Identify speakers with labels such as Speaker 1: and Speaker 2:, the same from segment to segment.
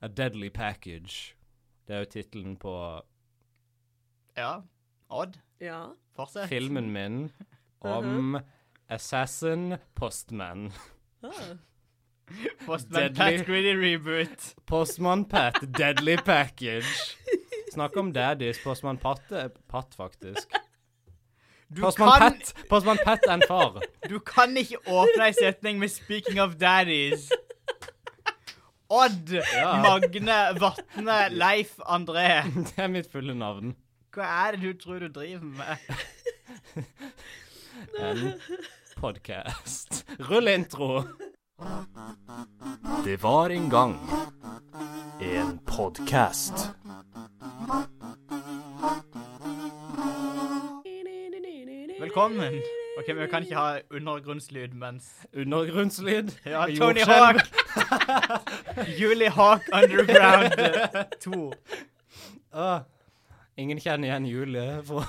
Speaker 1: A Deadly Package. Det er jo tittelen på
Speaker 2: Ja. Odd,
Speaker 3: Ja.
Speaker 2: fortsett.
Speaker 1: filmen min
Speaker 2: Uh-huh.
Speaker 1: om Assassin Postman.
Speaker 3: Ah.
Speaker 2: Postman
Speaker 1: Deadly.
Speaker 2: Pat Greedy reboot.
Speaker 1: Postman Pat, Deadly Package. Snakk om daddies. Postman Pat er Pat, faktisk.
Speaker 2: Du
Speaker 1: Postman
Speaker 2: kan,
Speaker 1: Pat Postman Pat er en far.
Speaker 2: du kan ikke åpne ei setning med 'speaking of daddies'. Odd, Magne, Vatne, Leif, André.
Speaker 1: Det er mitt fulle navn.
Speaker 2: Hva er det du tror du driver med?
Speaker 1: En podkast. Rull intro.
Speaker 4: Det var en gang en podkast.
Speaker 2: Velkommen. OK, men vi kan ikke ha undergrunnslyd mens
Speaker 1: Undergrunnslyd.
Speaker 2: Ja,
Speaker 1: Jordskjelv.
Speaker 2: Tony Hawk. Julie Hawk Underground 2.
Speaker 1: Ah, ingen kjenner igjen Julie. For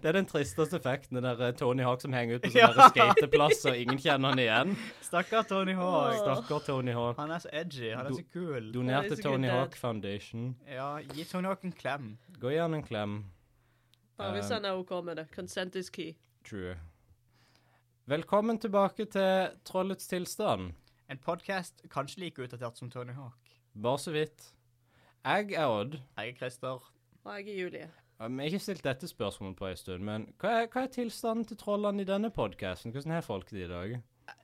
Speaker 1: det er den tristeste effekten, den der eh, Tony Hawk som henger ut på sånne
Speaker 2: Ja.
Speaker 1: der skateplass, og ingen kjenner han igjen.
Speaker 2: Stakkar Tony Hawk.
Speaker 1: Stakkar Tony Hawk.
Speaker 2: Han er så edgy. Han er så kul.
Speaker 1: Donert
Speaker 3: Det er
Speaker 1: til
Speaker 3: så
Speaker 1: Tony
Speaker 3: good,
Speaker 1: Hawk
Speaker 3: Dad.
Speaker 1: Foundation.
Speaker 2: Ja, gi Tony Hawk en klem.
Speaker 1: Gå gi han en klem.
Speaker 3: Ja, hvis han er OK med det. Consent is key.
Speaker 1: True. Velkommen tilbake til Trollets tilstand.
Speaker 2: En podkast kanskje like utdatert som Tony Hawk.
Speaker 1: Bare så vidt. Jeg er Odd.
Speaker 2: Jeg er Christer.
Speaker 3: Og jeg er Julie.
Speaker 1: Um, Jeg har ikke stilt dette spørsmålet på en stund, men hva er, hva er tilstanden til trollene i denne podkasten? Hvordan har folk det i dag?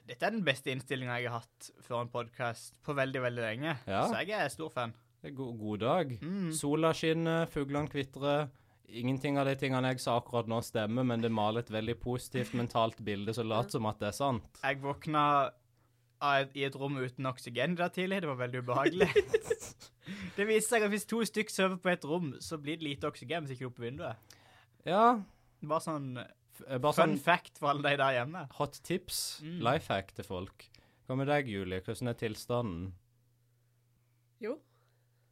Speaker 2: Dette er den beste innstillinga jeg har hatt før en podkast på veldig, veldig lenge.
Speaker 1: Ja.
Speaker 2: Så jeg er stor fan.
Speaker 1: Det er go god dag.
Speaker 2: Mm.
Speaker 1: Sola skinner, fuglene kvitrer. Ingenting av de tingene jeg sa akkurat nå, stemmer, men det maler et veldig positivt mentalt bilde så lat som at det er sant.
Speaker 2: Jeg våkna av et- i et rom uten oksygen der tidlig. Det var veldig ubehagelig. det viser seg at hvis to stykk sover på et rom, så blir det lite oksygen hvis ikke du er oppe vinduet.
Speaker 1: Ja,
Speaker 2: Bare sånn
Speaker 1: f bare
Speaker 2: fun
Speaker 1: sånn
Speaker 2: fact for alle de der hjemme.
Speaker 1: hot tips,
Speaker 2: Mm.
Speaker 1: life hack til folk. Hva med deg, Julie? Hvordan er tilstanden?
Speaker 3: Jo.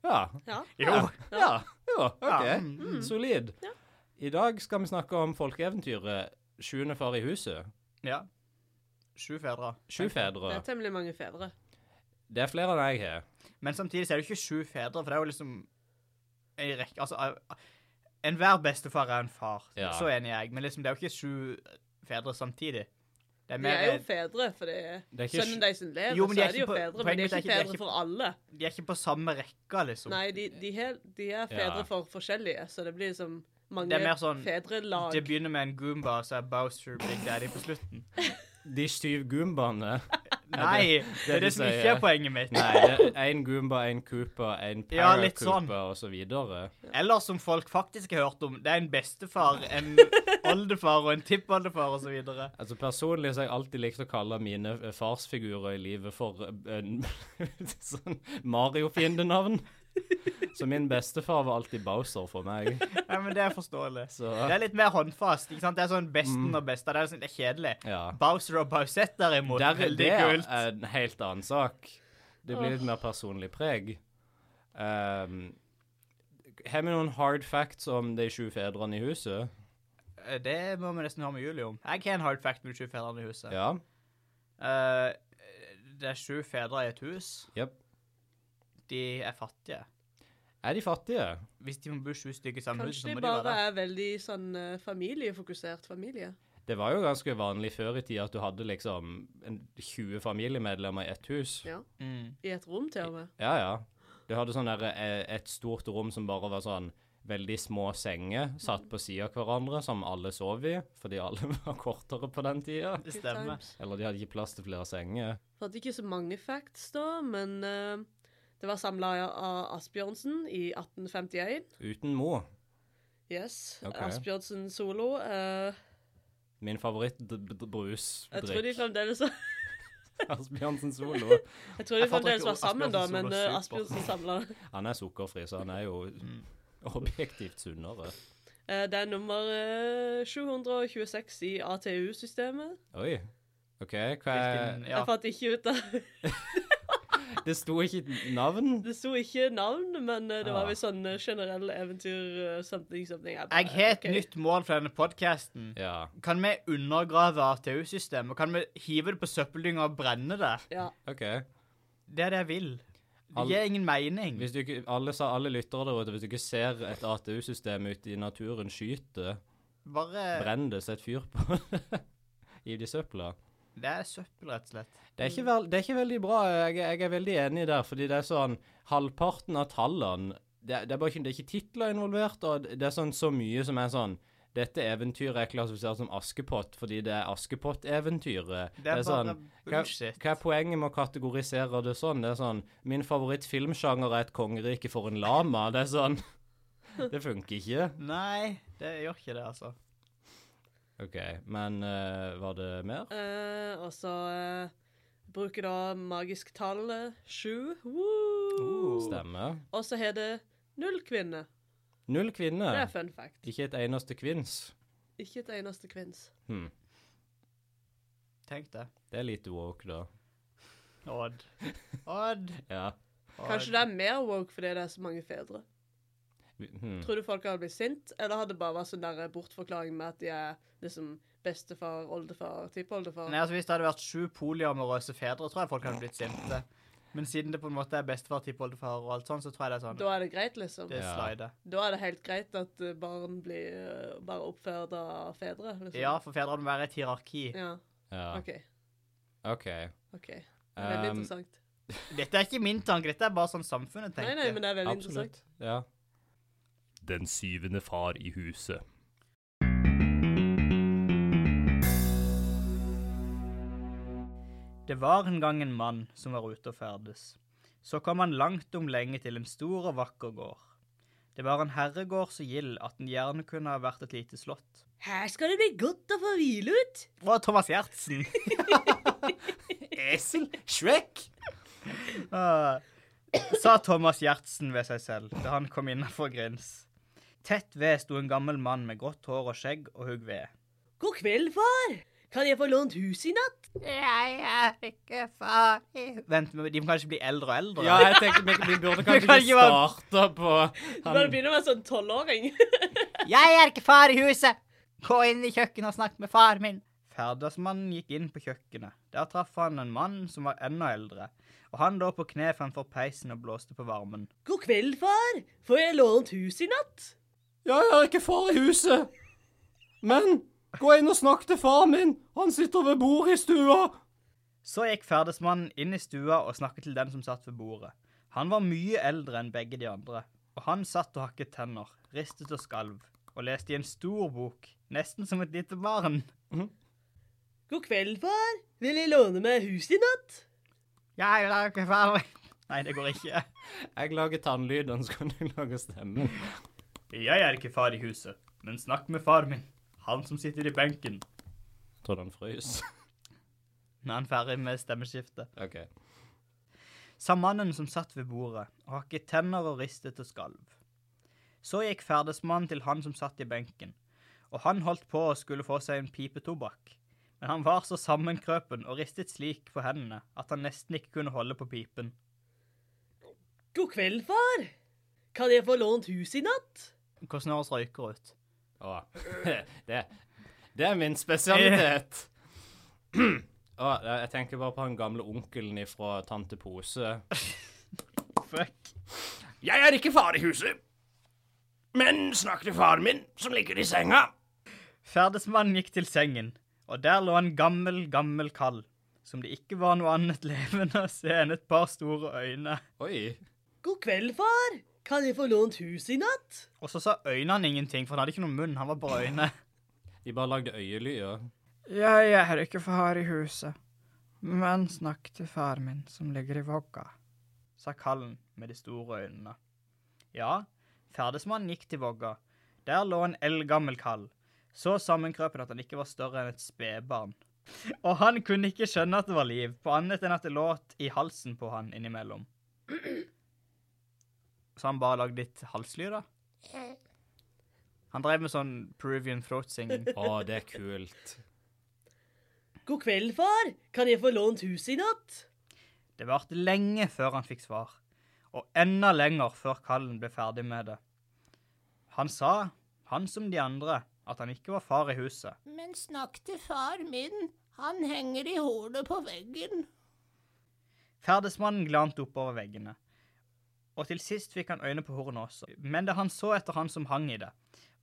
Speaker 1: Ja.
Speaker 3: Ja.
Speaker 2: Jo.
Speaker 1: Ja. Jo, OK.
Speaker 2: Ja, mm, mm.
Speaker 1: Solid.
Speaker 3: Ja.
Speaker 1: I dag skal vi snakke om folkeeventyret 'Sjuende far i huset'.
Speaker 2: Ja. Sju fedre.
Speaker 1: Sju
Speaker 3: Det
Speaker 1: fedre.
Speaker 3: er temmelig mange fedre.
Speaker 1: Det er flere enn jeg har.
Speaker 2: Men samtidig så er det jo ikke sju fedre, for det er jo liksom en rekke Altså, a- enhver bestefar er en far.
Speaker 1: Ja.
Speaker 2: Så enig er jeg. Men liksom, det er jo ikke sju fedre samtidig. Det er
Speaker 3: De
Speaker 2: mer,
Speaker 3: er jo fedre, for det er
Speaker 1: Det er ikke
Speaker 3: sønnen deres som lever,
Speaker 2: Jo, men de
Speaker 3: så
Speaker 2: er
Speaker 3: er de
Speaker 2: ikke
Speaker 3: jo
Speaker 2: på-
Speaker 3: fedre.
Speaker 2: poenget
Speaker 3: Men de
Speaker 2: mitt
Speaker 3: er
Speaker 2: er
Speaker 3: ikke
Speaker 2: ikke- de er
Speaker 3: fedre
Speaker 2: ikke-
Speaker 3: for alle.
Speaker 2: de er ikke på samme rekka, liksom.
Speaker 3: Nei, de, de, hel, de er fedre
Speaker 1: Ja.
Speaker 3: for forskjellige, så det blir liksom mange
Speaker 2: Det er mer sånn-
Speaker 3: fedrelag.
Speaker 2: Det begynner med en Goomba, så er Bowser Big Daddy på slutten.
Speaker 1: De syv goombaene.
Speaker 2: Nei! Det er
Speaker 1: du
Speaker 2: det som ikke
Speaker 1: sier.
Speaker 2: er poenget mitt.
Speaker 1: Nei, det er én goomba, én cooper, én
Speaker 2: Ja, litt sånn.
Speaker 1: paracooper og så videre.
Speaker 2: Eller som folk faktisk har hørt om, det er en bestefar, en oldefar og en tippoldefar og så videre.
Speaker 1: Altså Personlig så har jeg alltid likt å kalle mine eh, farsfigurer i livet for eh, en- sånn Mario-fiendenavn. Så min bestefar var alltid Bowser for meg.
Speaker 2: Nei, men det er forståelig.
Speaker 1: Så
Speaker 2: Det er litt mer håndfast. ikke sant? Det er sånn
Speaker 1: Mm.
Speaker 2: besten og besta. Det er, sånn, det er kjedelig.
Speaker 1: ja.
Speaker 2: Bowser og Bowsett, derimot,
Speaker 1: Der,
Speaker 2: veldig
Speaker 1: det eh, er
Speaker 2: kult.
Speaker 1: en helt annen sak. Det blir litt mer personlig preg. Ehm, har vi noen hard facts om de sju fedrene i huset?
Speaker 2: Eh, Det må vi nesten ha med Julie om. Jeg har en hard fact med sju fedre i huset.
Speaker 1: Ja.
Speaker 2: Eh, det er sju fedre i et hus.
Speaker 1: Jep.
Speaker 2: De er fattige.
Speaker 1: Er de fattige?
Speaker 2: Hvis de må bo sju stykker sammen, liksom, så
Speaker 3: Kanskje
Speaker 2: må
Speaker 3: de
Speaker 2: de være
Speaker 3: bare
Speaker 2: der.
Speaker 3: er veldig sånn eh, familiefokusert familie.
Speaker 1: Det var jo ganske vanlig før i tida at du hadde liksom en 20 familiemedlemmer i ett hus.
Speaker 3: Ja.
Speaker 2: Mm.
Speaker 3: I et rom, til og med.
Speaker 1: Ja, ja. Du hadde sånn der, eh, et stort rom som bare var sånn veldig små senger
Speaker 3: Mm.
Speaker 1: satt på sida av hverandre, som alle sov i, fordi alle var kortere på den tida.
Speaker 2: Det
Speaker 3: Good
Speaker 2: stemmer.
Speaker 3: times.
Speaker 1: Eller de hadde ikke plass til flere senger.
Speaker 3: Vi hadde ikke så mange facts da, men eh, det var samla av Asbjørnsen i 1851.
Speaker 1: Uten mor.
Speaker 3: Yes.
Speaker 1: Ok.
Speaker 3: Asbjørnsen solo. eh,
Speaker 1: Min favoritt-brus.
Speaker 3: jeg tror de fremdeles
Speaker 1: Asbjørnsen Solo.
Speaker 3: Jeg tror de
Speaker 2: Jeg foretrekker
Speaker 3: fremdeles var sammen, da,
Speaker 2: Asbjørnsen
Speaker 3: men
Speaker 2: Solo
Speaker 3: eh,
Speaker 2: Super.
Speaker 3: Asbjørnsen samla
Speaker 1: Han er sukkerfri, så han er jo
Speaker 3: Mm.
Speaker 1: objektivt sunnere.
Speaker 3: Eh, Det er nummer eh, 726 i ATU-systemet.
Speaker 1: Oi. OK, hva er
Speaker 2: Hvilken, ja.
Speaker 3: Jeg fant ikke ut av
Speaker 1: Det sto ikke navn?
Speaker 3: Det sto ikke navn, men eh, det var
Speaker 1: Ah.
Speaker 3: visst sånn eh, generell eventyr eh, something, something. bare,
Speaker 2: Jeg har et
Speaker 3: ok.
Speaker 2: nytt mål for denne podkasten.
Speaker 1: Ja.
Speaker 2: Kan vi undergrave ATU-systemet? Kan vi hive det på søppeldynga og brenne det?
Speaker 3: Ja.
Speaker 1: OK.
Speaker 2: Det er det jeg vil. Det gir ingen mening.
Speaker 1: Hvis du ikke, alle, sa, alle lyttere der ute, hvis du ikke ser et ATU-system ute i naturen skyte,
Speaker 2: Bare
Speaker 1: brenn det, sett fyr på det. Hiv det i søpla.
Speaker 2: Det er søppel, rett og slett.
Speaker 1: Det er, ikke vel, det er ikke veldig bra. Jeg, jeg er veldig enig der, fordi det er sånn Halvparten av tallene Det, det, er, bare ikke, det er ikke titler involvert, og det er sånn så mye som er sånn Dette eventyret er klassifisert som Askepott fordi det er Askepott-eventyret.
Speaker 2: Det er,
Speaker 1: sånn
Speaker 2: bare bullshit.
Speaker 1: Hva er poenget med å kategorisere det sånn? Det er sånn Min favorittfilmsjanger er et kongerike for en lama. Det er sånn Det funker ikke.
Speaker 2: Nei, det gjør ikke det, altså.
Speaker 1: OK, men eh, var det mer?
Speaker 3: Eh, og så eh, bruker da magisk tall eh, sju.
Speaker 1: Uh.
Speaker 3: Woo!
Speaker 1: Stemmer.
Speaker 3: Og så har det null kvinner.
Speaker 1: Null
Speaker 3: Det
Speaker 1: kvinner.
Speaker 3: er fun fact.
Speaker 1: Ikke et eneste kvinns.
Speaker 3: Ikke et eneste kvinns.
Speaker 1: Hm.
Speaker 2: Tenk det.
Speaker 1: Det er litt woke, da.
Speaker 2: Odd. Odd.
Speaker 1: Ja.
Speaker 2: Odd.
Speaker 3: Kanskje det er mer woke fordi det er så mange fedre.
Speaker 1: Vi- Hm.
Speaker 3: Tror du folk hadde blitt sint, eller hadde det bare vært sånn der bortforklaring med at de er liksom bestefar, oldefar, tippoldefar?
Speaker 2: Nei, altså Hvis det hadde vært sju polyamorøse fedre, tror jeg folk hadde blitt sinte. Men siden det på en måte er bestefar, tippoldefar og alt sånt, så tror jeg det er sånn.
Speaker 3: Da er det greit, liksom.
Speaker 2: Det
Speaker 1: Ja.
Speaker 2: slider.
Speaker 3: Da er det helt greit at eh, barn blir eh, bare oppført av fedre. Liksom.
Speaker 2: Ja, for fedrene må være i et hierarki.
Speaker 3: ja.
Speaker 1: Ja.
Speaker 3: OK.
Speaker 1: OK.
Speaker 3: ok. Veldig
Speaker 1: Um,
Speaker 3: interessant.
Speaker 2: Dette er ikke min tanke, dette er bare sånn samfunnet
Speaker 3: Nei,
Speaker 2: tenker.
Speaker 3: nei, men det er veldig interessant.
Speaker 1: Absolutt. Ja. Den syvende far i huset.
Speaker 2: Det var en gang en mann som var ute og ferdes. Så kom han langt om lenge til en stor og vakker gård. Det var en herregård så gild at den gjerne kunne ha vært et lite slott.
Speaker 3: Her skal det bli godt å få hvile ut.
Speaker 2: Å, Thomas Gjertsen!
Speaker 1: Esel? Shrek?
Speaker 2: Ah, sa Thomas Gjertsen ved seg selv da han kom innafor grins. Tett ved sto en gammel mann med grått hår og skjegg og hugg ved.
Speaker 3: God kveld, far. Kan jeg få lånt hus i natt?
Speaker 2: Jeg er ikke far Vent, men de må kanskje bli eldre og eldre?
Speaker 1: Ja, jeg tenkte vi, vi burde
Speaker 2: Vi kan
Speaker 1: kanskje ikke
Speaker 2: ikke
Speaker 1: starte på
Speaker 3: Du bare
Speaker 1: han,
Speaker 3: begynner å være sånn tolvåring.
Speaker 2: Jeg er ikke far i huset! Gå inn i kjøkkenet og snakk med far min. Ferdersmannen gikk inn på kjøkkenet. Der traff han en mann som var enda eldre, og han lå på kne fremfor peisen og blåste på varmen.
Speaker 3: God kveld, far. Får jeg lånt hus i natt?
Speaker 1: Ja, jeg er ikke far i huset. Men gå inn og snakk til far min. Han sitter ved bordet i stua.
Speaker 2: Så gikk ferdersmannen inn i stua og snakket til den som satt ved bordet. Han var mye eldre enn begge de andre, og han satt og hakket tenner, ristet og skalv, og leste i en stor bok, nesten som et lite barn.
Speaker 3: God kveld, far. Vil jeg låne meg hus i natt?
Speaker 2: Jeg er ikke far Nei, det går ikke.
Speaker 1: Jeg lager tannlydene, så kan du lage stemmen.
Speaker 2: Jeg er ikke far i huset, men snakk med far min. Han som sitter i benken.
Speaker 1: Tror den frøs.
Speaker 2: Nå er han ferdig med stemmeskiftet.
Speaker 1: OK.
Speaker 2: Sa mannen som satt ved bordet, og hakket tenner og ristet og skalv. Så gikk ferdesmannen til han som satt i benken, og han holdt på å skulle få seg en pipe tobakk. Men han var så sammenkrøpen og ristet slik på hendene at han nesten ikke kunne holde på pipen.
Speaker 3: God kveld, far. Kan jeg få lånt hus i natt?
Speaker 2: Hvordan høres røyker ut?
Speaker 1: Å, det, det er min spesialitet. Å, jeg tenker bare på han gamle onkelen ifra Tante Pose.
Speaker 2: Fuck.
Speaker 1: Jeg er ikke far i huset, men snakk til faren min, som ligger i senga.
Speaker 2: Ferdesmannen gikk til sengen, og der lå en gammel, gammel kall, som det ikke var noe annet levende å se enn et par store øyne.
Speaker 1: Oi.
Speaker 3: God kveld, far. Kan jeg få lånt hus i natt?
Speaker 2: Og så sa øynene ingenting, for han hadde ikke noen munn, han var bare øyne.
Speaker 1: De bare lagde øyelyder.
Speaker 2: Jeg er ikke far i huset, men snakk til far min som ligger i vogga, sa kallen med de store øynene. Ja, ferdesmannen gikk til vogga. Der lå en eldgammel kall, så sammenkrøpet at han ikke var større enn et spedbarn. Og han kunne ikke skjønne at det var liv, på annet enn at det låt i halsen på han innimellom. Så han bare lagde litt halslyd, da? Han drev med sånn Peruvian throat singing.
Speaker 1: Å, det er kult.
Speaker 3: God kveld, far. Kan jeg få lånt hus i natt?
Speaker 2: Det varte lenge før han fikk svar, og enda lenger før kallen ble ferdig med det. Han sa, han som de andre, at han ikke var far i huset.
Speaker 5: Men snakk til far min, han henger i hålet på veggen.
Speaker 2: Ferdesmannen glante oppover veggene. og til sist fikk han øyne på hornet også. Men det han så etter han som hang i det,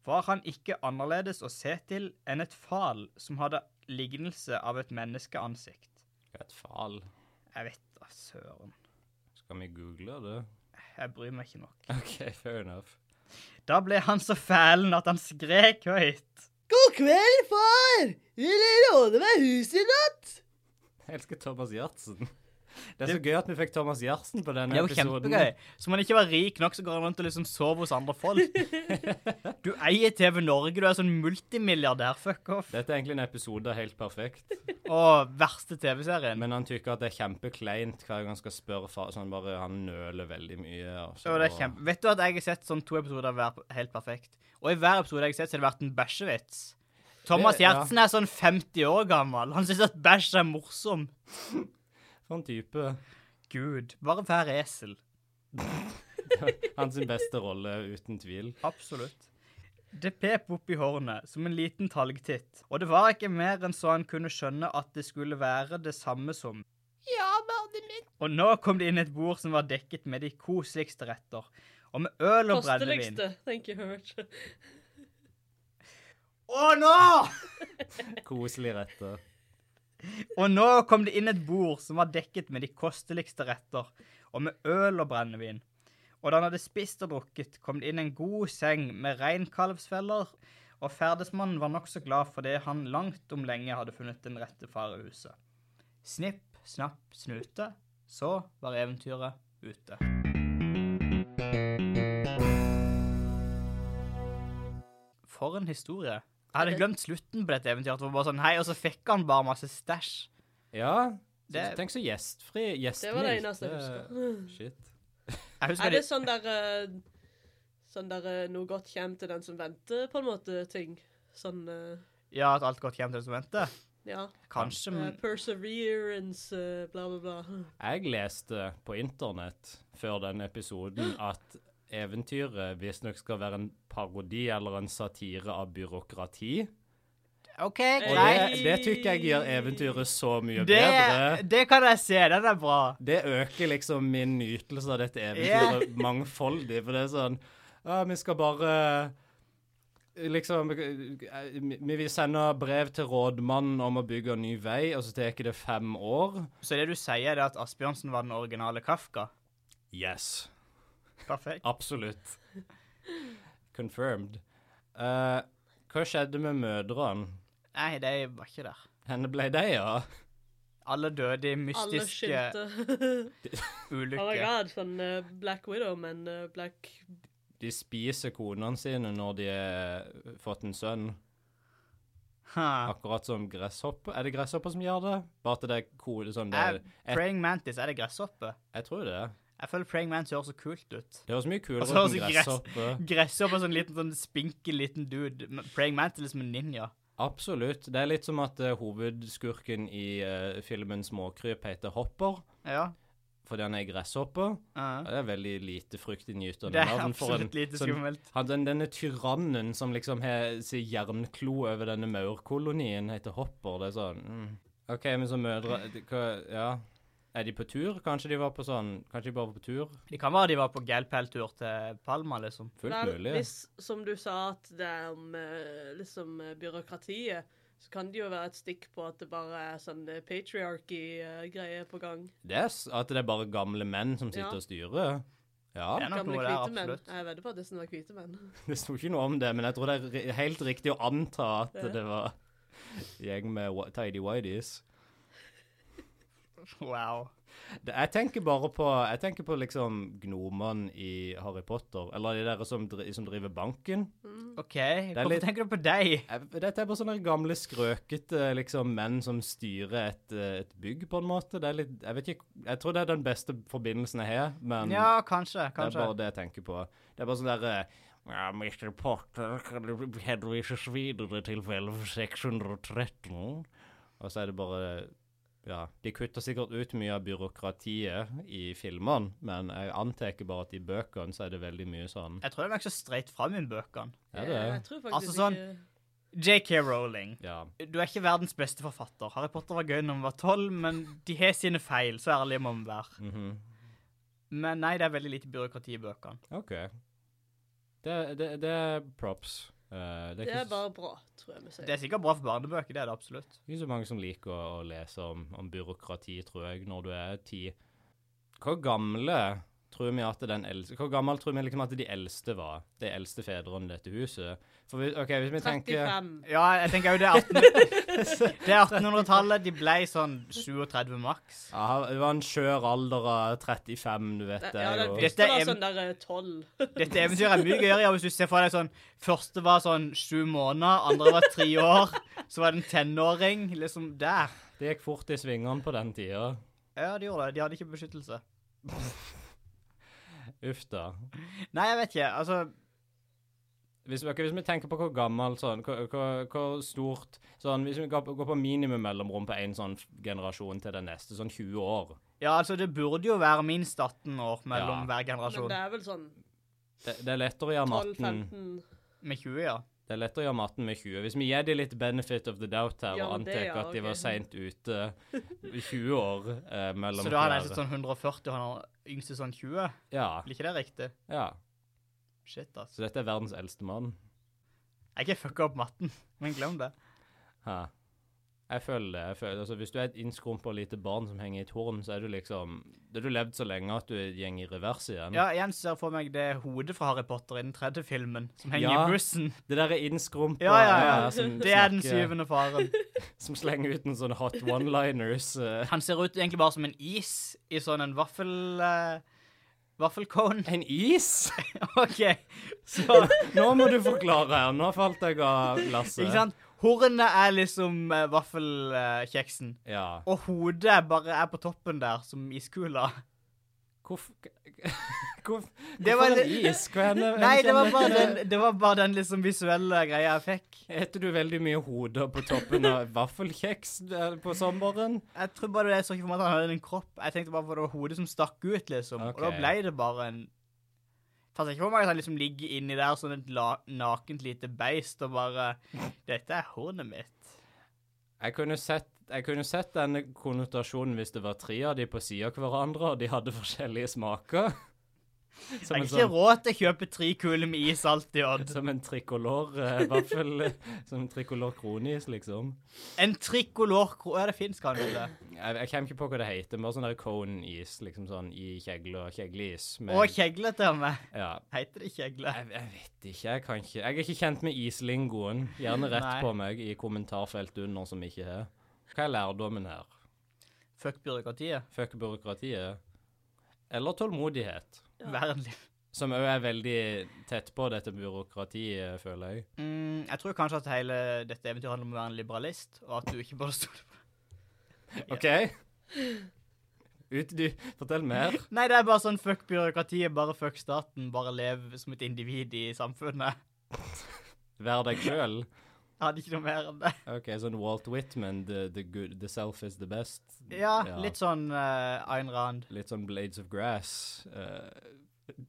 Speaker 2: var han ikke annerledes å se til enn et fal som hadde lignelse av et menneskeansikt.
Speaker 1: Et fal.
Speaker 2: Jeg vet da søren.
Speaker 1: Skal vi google det?
Speaker 2: Jeg bryr meg ikke nok.
Speaker 1: OK, fair enough.
Speaker 2: Da ble han så fælen at han skrek høyt.
Speaker 6: God kveld, far! Vil du låne meg huset i natt?
Speaker 1: Jeg elsker Thomas Gjertsen. Det er så gøy at vi fikk Thomas Gjertsen på denne
Speaker 2: Det er jo
Speaker 1: episoden.
Speaker 2: kjempegøy. Som om han ikke var rik nok, så går han rundt og liksom sover hos andre folk. Du eier TV Norge, du er sånn multimilliardær, fuck off.
Speaker 1: Dette er egentlig en episode av helt perfekt,
Speaker 2: Og verste TV-serien.
Speaker 1: men han tykker at det er kjempekleint hver gang han skal spørre far, så han bare han nøler veldig mye. Og så,
Speaker 2: Og det er kjempe... Vet du at jeg har sett sånn to episoder av hver Helt perfekt? Og i hver episode jeg har sett, så har det vært en bæsjevits. Thomas
Speaker 1: Det- ja.
Speaker 2: Gjertsen er sånn 50 år gammel. Han syns at bæsj er morsom.
Speaker 1: Sånn type.
Speaker 2: Gud, bare vær esel.
Speaker 1: Hans beste rolle, uten tvil.
Speaker 2: Absolutt. Det pep opp i hornet, som en liten talgtitt, og det var ikke mer enn så han kunne skjønne at det skulle være det samme som.
Speaker 5: Ja, mannen min.
Speaker 2: Og nå kom det inn et bord som var dekket med de koseligste retter, og med øl og brennevin.
Speaker 3: Kosteligste. Thank you very much.
Speaker 2: Og nå!
Speaker 1: Koselig retter.
Speaker 2: Og nå kom det inn et bord som var dekket med de kosteligste retter, og med øl og brennevin. Og da han hadde spist og drukket, kom det inn en god seng med reinkalvsfeller, og ferdesmannen var nokså glad for det han langt om lenge hadde funnet den rette farehuset. Snipp, snapp, snute, så var eventyret ute. For en historie. Jeg hadde glemt slutten på dette eventyret. Det var bare sånn, hei, Og så fikk han bare masse stæsj.
Speaker 1: Ja. Så,
Speaker 2: Det-
Speaker 1: tenk så gjestfri. Gjestmildt.
Speaker 3: Det var det eneste jeg husker.
Speaker 1: Shit.
Speaker 2: Jeg
Speaker 3: Er
Speaker 2: husker
Speaker 3: det
Speaker 2: det,
Speaker 3: sånn der eh, Sånn der eh, noe godt kommer til den som venter, på en måte, ting? Sånn eh,
Speaker 2: ja, at alt godt kommer til den som venter.
Speaker 3: Ja.
Speaker 2: Kanskje,
Speaker 1: Mm.
Speaker 3: eh,
Speaker 2: men
Speaker 3: perseverance, eh, bla, bla, bla.
Speaker 1: Jeg leste på internett før denne episoden at eventyret visstnok skal være en parodi eller en satire av byråkrati.
Speaker 2: OK,
Speaker 3: Eh,
Speaker 1: Og
Speaker 2: greit.
Speaker 1: det, det tykker jeg gjør eventyret så mye
Speaker 2: Det,
Speaker 1: bedre.
Speaker 2: det kan jeg se. Den er bra.
Speaker 1: Det øker liksom min nytelse av dette eventyret mangfoldig, for det er sånn Ja, vi skal bare Liksom eh, Vi vil sende brev til rådmannen om å bygge en ny vei, og så tar det fem år.
Speaker 2: Så det du sier, er at Asbjørnsen var den originale Kafka?
Speaker 1: Yes.
Speaker 2: Perfekt.
Speaker 1: Absolutt. Confirmed. Eh, hva skjedde med mødrene?
Speaker 2: Nei, de var ikke der.
Speaker 1: Henne ble de, ja?
Speaker 2: Alle døde i
Speaker 3: Alle
Speaker 2: mystiske
Speaker 3: skilte. Oh my
Speaker 2: ulykker.
Speaker 3: god, sånn eh, Black Widow, men eh, Black
Speaker 1: De spiser konene sine når de har fått en sønn.
Speaker 2: Ha.
Speaker 1: Akkurat som gresshopper. Er det gresshopper som gjør det? Bare at det er kode sånn det,
Speaker 2: Er Praying Mantis, er det gresshoppe?
Speaker 1: Jeg tror det.
Speaker 2: Jeg føler Praying Mantis høres så kult ut.
Speaker 1: Det høres mye kulere
Speaker 2: Altså,
Speaker 1: ut enn
Speaker 2: altså, gress-
Speaker 1: gresshoppe.
Speaker 2: Gresshoppe er sånn liten, sånn spinkel liten dude. men Praying Mantis er liksom en ninja.
Speaker 1: Absolutt. Det er litt som at eh, hovedskurken i eh, filmen Småkryp heter Hopper,
Speaker 2: Ja.
Speaker 1: fordi han er gresshoppe.
Speaker 2: ja.
Speaker 1: Det er veldig lite fruktinngytende
Speaker 2: Det er
Speaker 1: navn for en
Speaker 2: absolutt lite
Speaker 1: sånn-
Speaker 2: skummelt.
Speaker 1: han, den, denne tyrannen som liksom har sin jernklo over denne maurkolonien, heter Hopper. Det er sånn mm. OK, men så mødre de- hva, Ja. Er de på tur? Kanskje de var på sånn Kanskje de bare var på tur?
Speaker 2: Det kan være de var på galpeltur til Palma, liksom.
Speaker 1: Fullt
Speaker 3: Vel,
Speaker 1: mulig.
Speaker 3: Hvis, som du sa, at det er om eh, liksom eh, byråkratiet, så kan det jo være et stikk på at det bare er sånn patriarchy-greie på gang.
Speaker 1: Det er s- at det er bare gamle menn som sitter
Speaker 3: Ja.
Speaker 1: og styrer.
Speaker 2: Det
Speaker 1: Ja.
Speaker 2: er nok
Speaker 3: Gamle
Speaker 2: noe der,
Speaker 3: hvite menn.
Speaker 2: absolutt.
Speaker 3: Jeg er veldig på at det som var hvite menn.
Speaker 1: Det sto ikke noe om det, men jeg tror det er ri- helt riktig å anta at
Speaker 3: Ja.
Speaker 1: det var gjeng med wa- tidy whities.
Speaker 2: Wow.
Speaker 1: Det- Jeg tenker bare på Jeg tenker på liksom gnomene i Harry Potter, eller de der som, dri, som driver banken.
Speaker 3: Mm.
Speaker 2: OK, hvorfor
Speaker 1: litt-
Speaker 2: tenker du på deg?
Speaker 1: Jeg- Dette er bare sånne gamle skrøkete liksom, menn som styrer et, eh, et bygg, på en måte. Det er litt, jeg, vet ikke, jeg tror det er den beste forbindelsen jeg har, men
Speaker 2: Ja, kanskje.
Speaker 1: det er
Speaker 2: Kanskje.
Speaker 1: bare det jeg tenker på. Det er bare sånn derre ja, Mr. Potter kan du henvises videre til vel 613. Og så er det bare Ja. De kutter sikkert ut mye av byråkratiet i filmene, men jeg antar bare at i bøkene så er det veldig mye sånn.
Speaker 2: Jeg tror det er nokså straight fram i bøkene.
Speaker 1: Er
Speaker 3: Jeg,
Speaker 1: det?
Speaker 3: jeg tror faktisk
Speaker 2: Altså sånn-
Speaker 3: ikke
Speaker 2: JK Rowling.
Speaker 1: Ja.
Speaker 2: Du er ikke verdens beste forfatter. Harry Potter var gøy når han var tolv, men de har sine feil. Så ærlige må vi være.
Speaker 1: mhm.
Speaker 2: Men nei, det er veldig lite byråkrati i bøkene.
Speaker 1: OK. Det, det, det er props. Eh, det, er
Speaker 3: Det
Speaker 1: ikke,
Speaker 3: er bare bra, tror jeg vi
Speaker 2: Det
Speaker 3: sier.
Speaker 2: er sikkert bra for barnebøker, det er det absolutt.
Speaker 1: ikke så mange som liker å, å lese om, om byråkrati, tror jeg, når du er ti. Hvor gamle tror vi at den eldste Hvor gammel tror vi liksom at de eldste var? De eldste fedrene i dette huset? For vi, OK, hvis vi tenker
Speaker 3: 35.
Speaker 2: Ja, jeg tenker jo det er 18 Det er 1800-tallet. De ble sånn 37 maks.
Speaker 1: Ja, det var en skjør alder av 35, du vet.
Speaker 3: Det,
Speaker 1: Det,
Speaker 3: ja,
Speaker 1: er
Speaker 3: den
Speaker 1: jo-
Speaker 2: visst.
Speaker 3: første var
Speaker 2: Dette er-
Speaker 3: sånn der eh, 12.
Speaker 2: Dette eventyret er mye gøyere ja, hvis du ser for deg sånn Første var sånn sju måneder, andre var tre år, så var det en tenåring. Liksom der.
Speaker 1: det gikk fort i svingene på den tida.
Speaker 2: Ja, de gjorde det. De hadde ikke beskyttelse.
Speaker 1: Uff da.
Speaker 2: Nei, jeg vet ikke. Altså
Speaker 1: Hvis, ok, hvis vi tenker på hvor gammel sånn, hvor, hvor, hvor stort sånn, Hvis vi går, på- går på minimum mellomrom på én sånn generasjon til den neste, sånn 20 år
Speaker 2: Ja, altså, det burde jo være minst 18 år mellom
Speaker 1: Ja.
Speaker 2: hver
Speaker 3: Men
Speaker 2: generasjon.
Speaker 3: det er vel sånn
Speaker 1: Det, det er lettere å gjøre matten
Speaker 3: 12-15.
Speaker 2: Med 20, ja.
Speaker 1: Det er lettere å gjøre matten med 20. Hvis vi gir de litt benefit of the doubt her
Speaker 3: Ja,
Speaker 1: og
Speaker 3: men det,
Speaker 1: antar
Speaker 3: ja,
Speaker 1: at de
Speaker 3: ok.
Speaker 1: var seint ute i 20 år eh, mellom
Speaker 2: Så da er
Speaker 1: hver-
Speaker 2: han eldste sånn 140, og han er yngste sånn 20.
Speaker 1: ja,
Speaker 2: Blir ikke det riktig?
Speaker 1: ja.
Speaker 2: Shit, altså.
Speaker 1: Så dette er verdens eldste mann.
Speaker 2: Jeg har ikke fucka opp matten, men glem det.
Speaker 1: Hæ. Jeg føler det. jeg føler altså, Hvis du er et innskrumpa lite barn som henger i et horn, så er du liksom Da har du levd så lenge at du går i revers igjen.
Speaker 2: Ja, igjen ser jeg for meg det hodet fra Harry Potter i den tredje filmen, som henger
Speaker 1: Ja.
Speaker 2: i bussen.
Speaker 1: Det der er innskrumpa
Speaker 2: Ja, ja, ja.
Speaker 1: eh, som,
Speaker 2: Det er den
Speaker 1: snakker-
Speaker 2: syvende faren.
Speaker 1: som slenger ut en sånn hot one-liners. eh.
Speaker 2: Han ser ut egentlig bare som en is i sånn en vaffel... eh, vaffelcone.
Speaker 1: En is?!
Speaker 2: OK. Så,
Speaker 1: Nå må du forklare her. Nå falt jeg av lasset.
Speaker 2: ikke sant? Hornet er liksom eh, vaffelkjeksen.
Speaker 1: Ja.
Speaker 2: og hodet bare er på toppen der, som iskula.
Speaker 1: Hvorfor Hvorfor
Speaker 2: Det var
Speaker 1: hvorfor en
Speaker 2: litt-
Speaker 1: is? Hva er det-
Speaker 2: Nei, det var
Speaker 1: kjenner-
Speaker 2: bare den, det var bare den liksom visuelle greia jeg fikk.
Speaker 1: Eter du veldig mye hoder på toppen av vaffelkjeks eh, på sommeren?
Speaker 2: Jeg tror bare det jeg så ikke for meg at han hadde en kropp. Jeg tenkte bare på det var hodet som stakk ut, liksom. Og da
Speaker 1: Ok.
Speaker 2: ble det bare en Fant ikke for meg at han liksom ligger inni der som et la, nakent lite beist og bare Dette er hornet mitt.
Speaker 1: Jeg kunne sett jeg kunne sett denne konnotasjonen hvis det var tre av de på sida av hverandre, og de hadde forskjellige smaker. Som
Speaker 2: Jeg
Speaker 1: en,
Speaker 2: har ikke
Speaker 1: sånn,
Speaker 2: råd til å kjøpe tre kuler med is alltid, Odd.
Speaker 1: som en trikolor eh, vaffel Som en trikolor kronis, liksom.
Speaker 2: En trikolor kro- Ja, det fins kanskje det.
Speaker 1: Jeg, jeg kommer ikke på hva det heter, men bare sånn der cone-is, liksom sånn i kjegle og kjegleis. men-
Speaker 2: Og kjegle til og med.
Speaker 1: Ja.
Speaker 2: Heter det kjegle?
Speaker 1: Jeg, jeg vet ikke, jeg kan ikke Jeg er ikke kjent med islingoen. Gjerne rett
Speaker 2: Nei.
Speaker 1: på meg i kommentarfelt under som ikke har. Hva er lærdommen her?
Speaker 2: Fuck byråkratiet.
Speaker 1: Fuck byråkratiet. Eller tålmodighet.
Speaker 2: Vær en
Speaker 1: Som òg er veldig tett på dette byråkratiet, føler jeg.
Speaker 2: Mm, jeg tror kanskje at hele dette eventyret handler om å være en liberalist, og at du ikke burde stole på
Speaker 1: OK? Ut, du. Fortell mer.
Speaker 2: Nei, det er bare sånn fuck byråkratiet, bare fuck staten, bare lev som et individ i samfunnet.
Speaker 1: Vær deg sjøl.
Speaker 2: Jeg hadde ikke noe mer enn det.
Speaker 1: OK, sånn Walt Whitman, the, the, good, the self is the best.
Speaker 2: Ja, litt sånn uh, Ayn Rand.
Speaker 1: litt sånn Blades of Grass. Eh,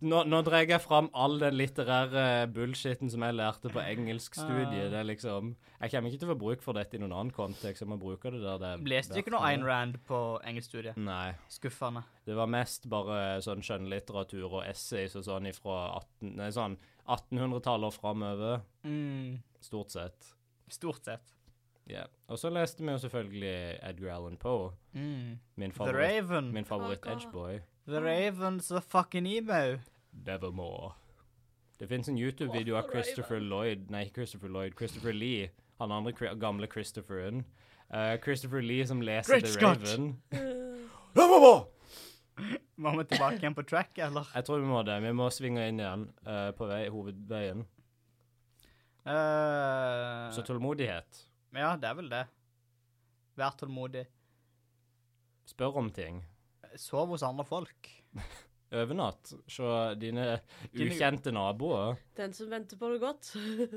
Speaker 1: nå, nå drar jeg fram all den litterære bullshiten som jeg lærte på engelskstudiet.
Speaker 2: Ah.
Speaker 1: Det er liksom Jeg kommer ikke til å få bruk for dette i noen annen kontekst. Jeg må bruke det der det er
Speaker 2: Leste du ikke noe
Speaker 1: verdt
Speaker 2: Ayn
Speaker 1: det.
Speaker 2: Rand på engelskstudiet?
Speaker 1: Nei.
Speaker 2: Skuffende.
Speaker 1: Det var mest bare sånn skjønnlitteratur og essays og sånn ifra 18, nei, sånn 1800-tallet og framover.
Speaker 2: Mm,
Speaker 1: Stort sett.
Speaker 2: stort sett.
Speaker 1: Ja. Og så leste vi jo selvfølgelig Edgar Allan Poe.
Speaker 2: Mm.
Speaker 1: Min
Speaker 2: The
Speaker 1: favoritt,
Speaker 2: Raven.
Speaker 1: min favoritt
Speaker 3: Fuck off.
Speaker 1: Edgeboy.
Speaker 2: The Raven's a fucking emo.
Speaker 1: Nevermore. Det fins en YouTube-video av
Speaker 3: Åh,
Speaker 1: Christopher Lloyd Nei, ikke Christopher Lloyd. Christopher Lee. Han andre kri- gamle Christopheren. Eh, Christopher Lee som leser
Speaker 2: Great
Speaker 1: The
Speaker 2: Scott!
Speaker 1: Raven.
Speaker 2: Må vi tilbake igjen på track, eller?
Speaker 1: Jeg tror vi må det. Vi må svinge inn igjen eh, på vei, hovedveien.
Speaker 2: Eh,
Speaker 1: Så tålmodighet.
Speaker 2: ja, det er vel det. Vær tålmodig.
Speaker 1: Spør om ting.
Speaker 2: Sov hos andre folk.
Speaker 1: Overnatt. Se dine
Speaker 2: Dine-
Speaker 1: ukjente naboer.
Speaker 3: Den som venter på noe godt.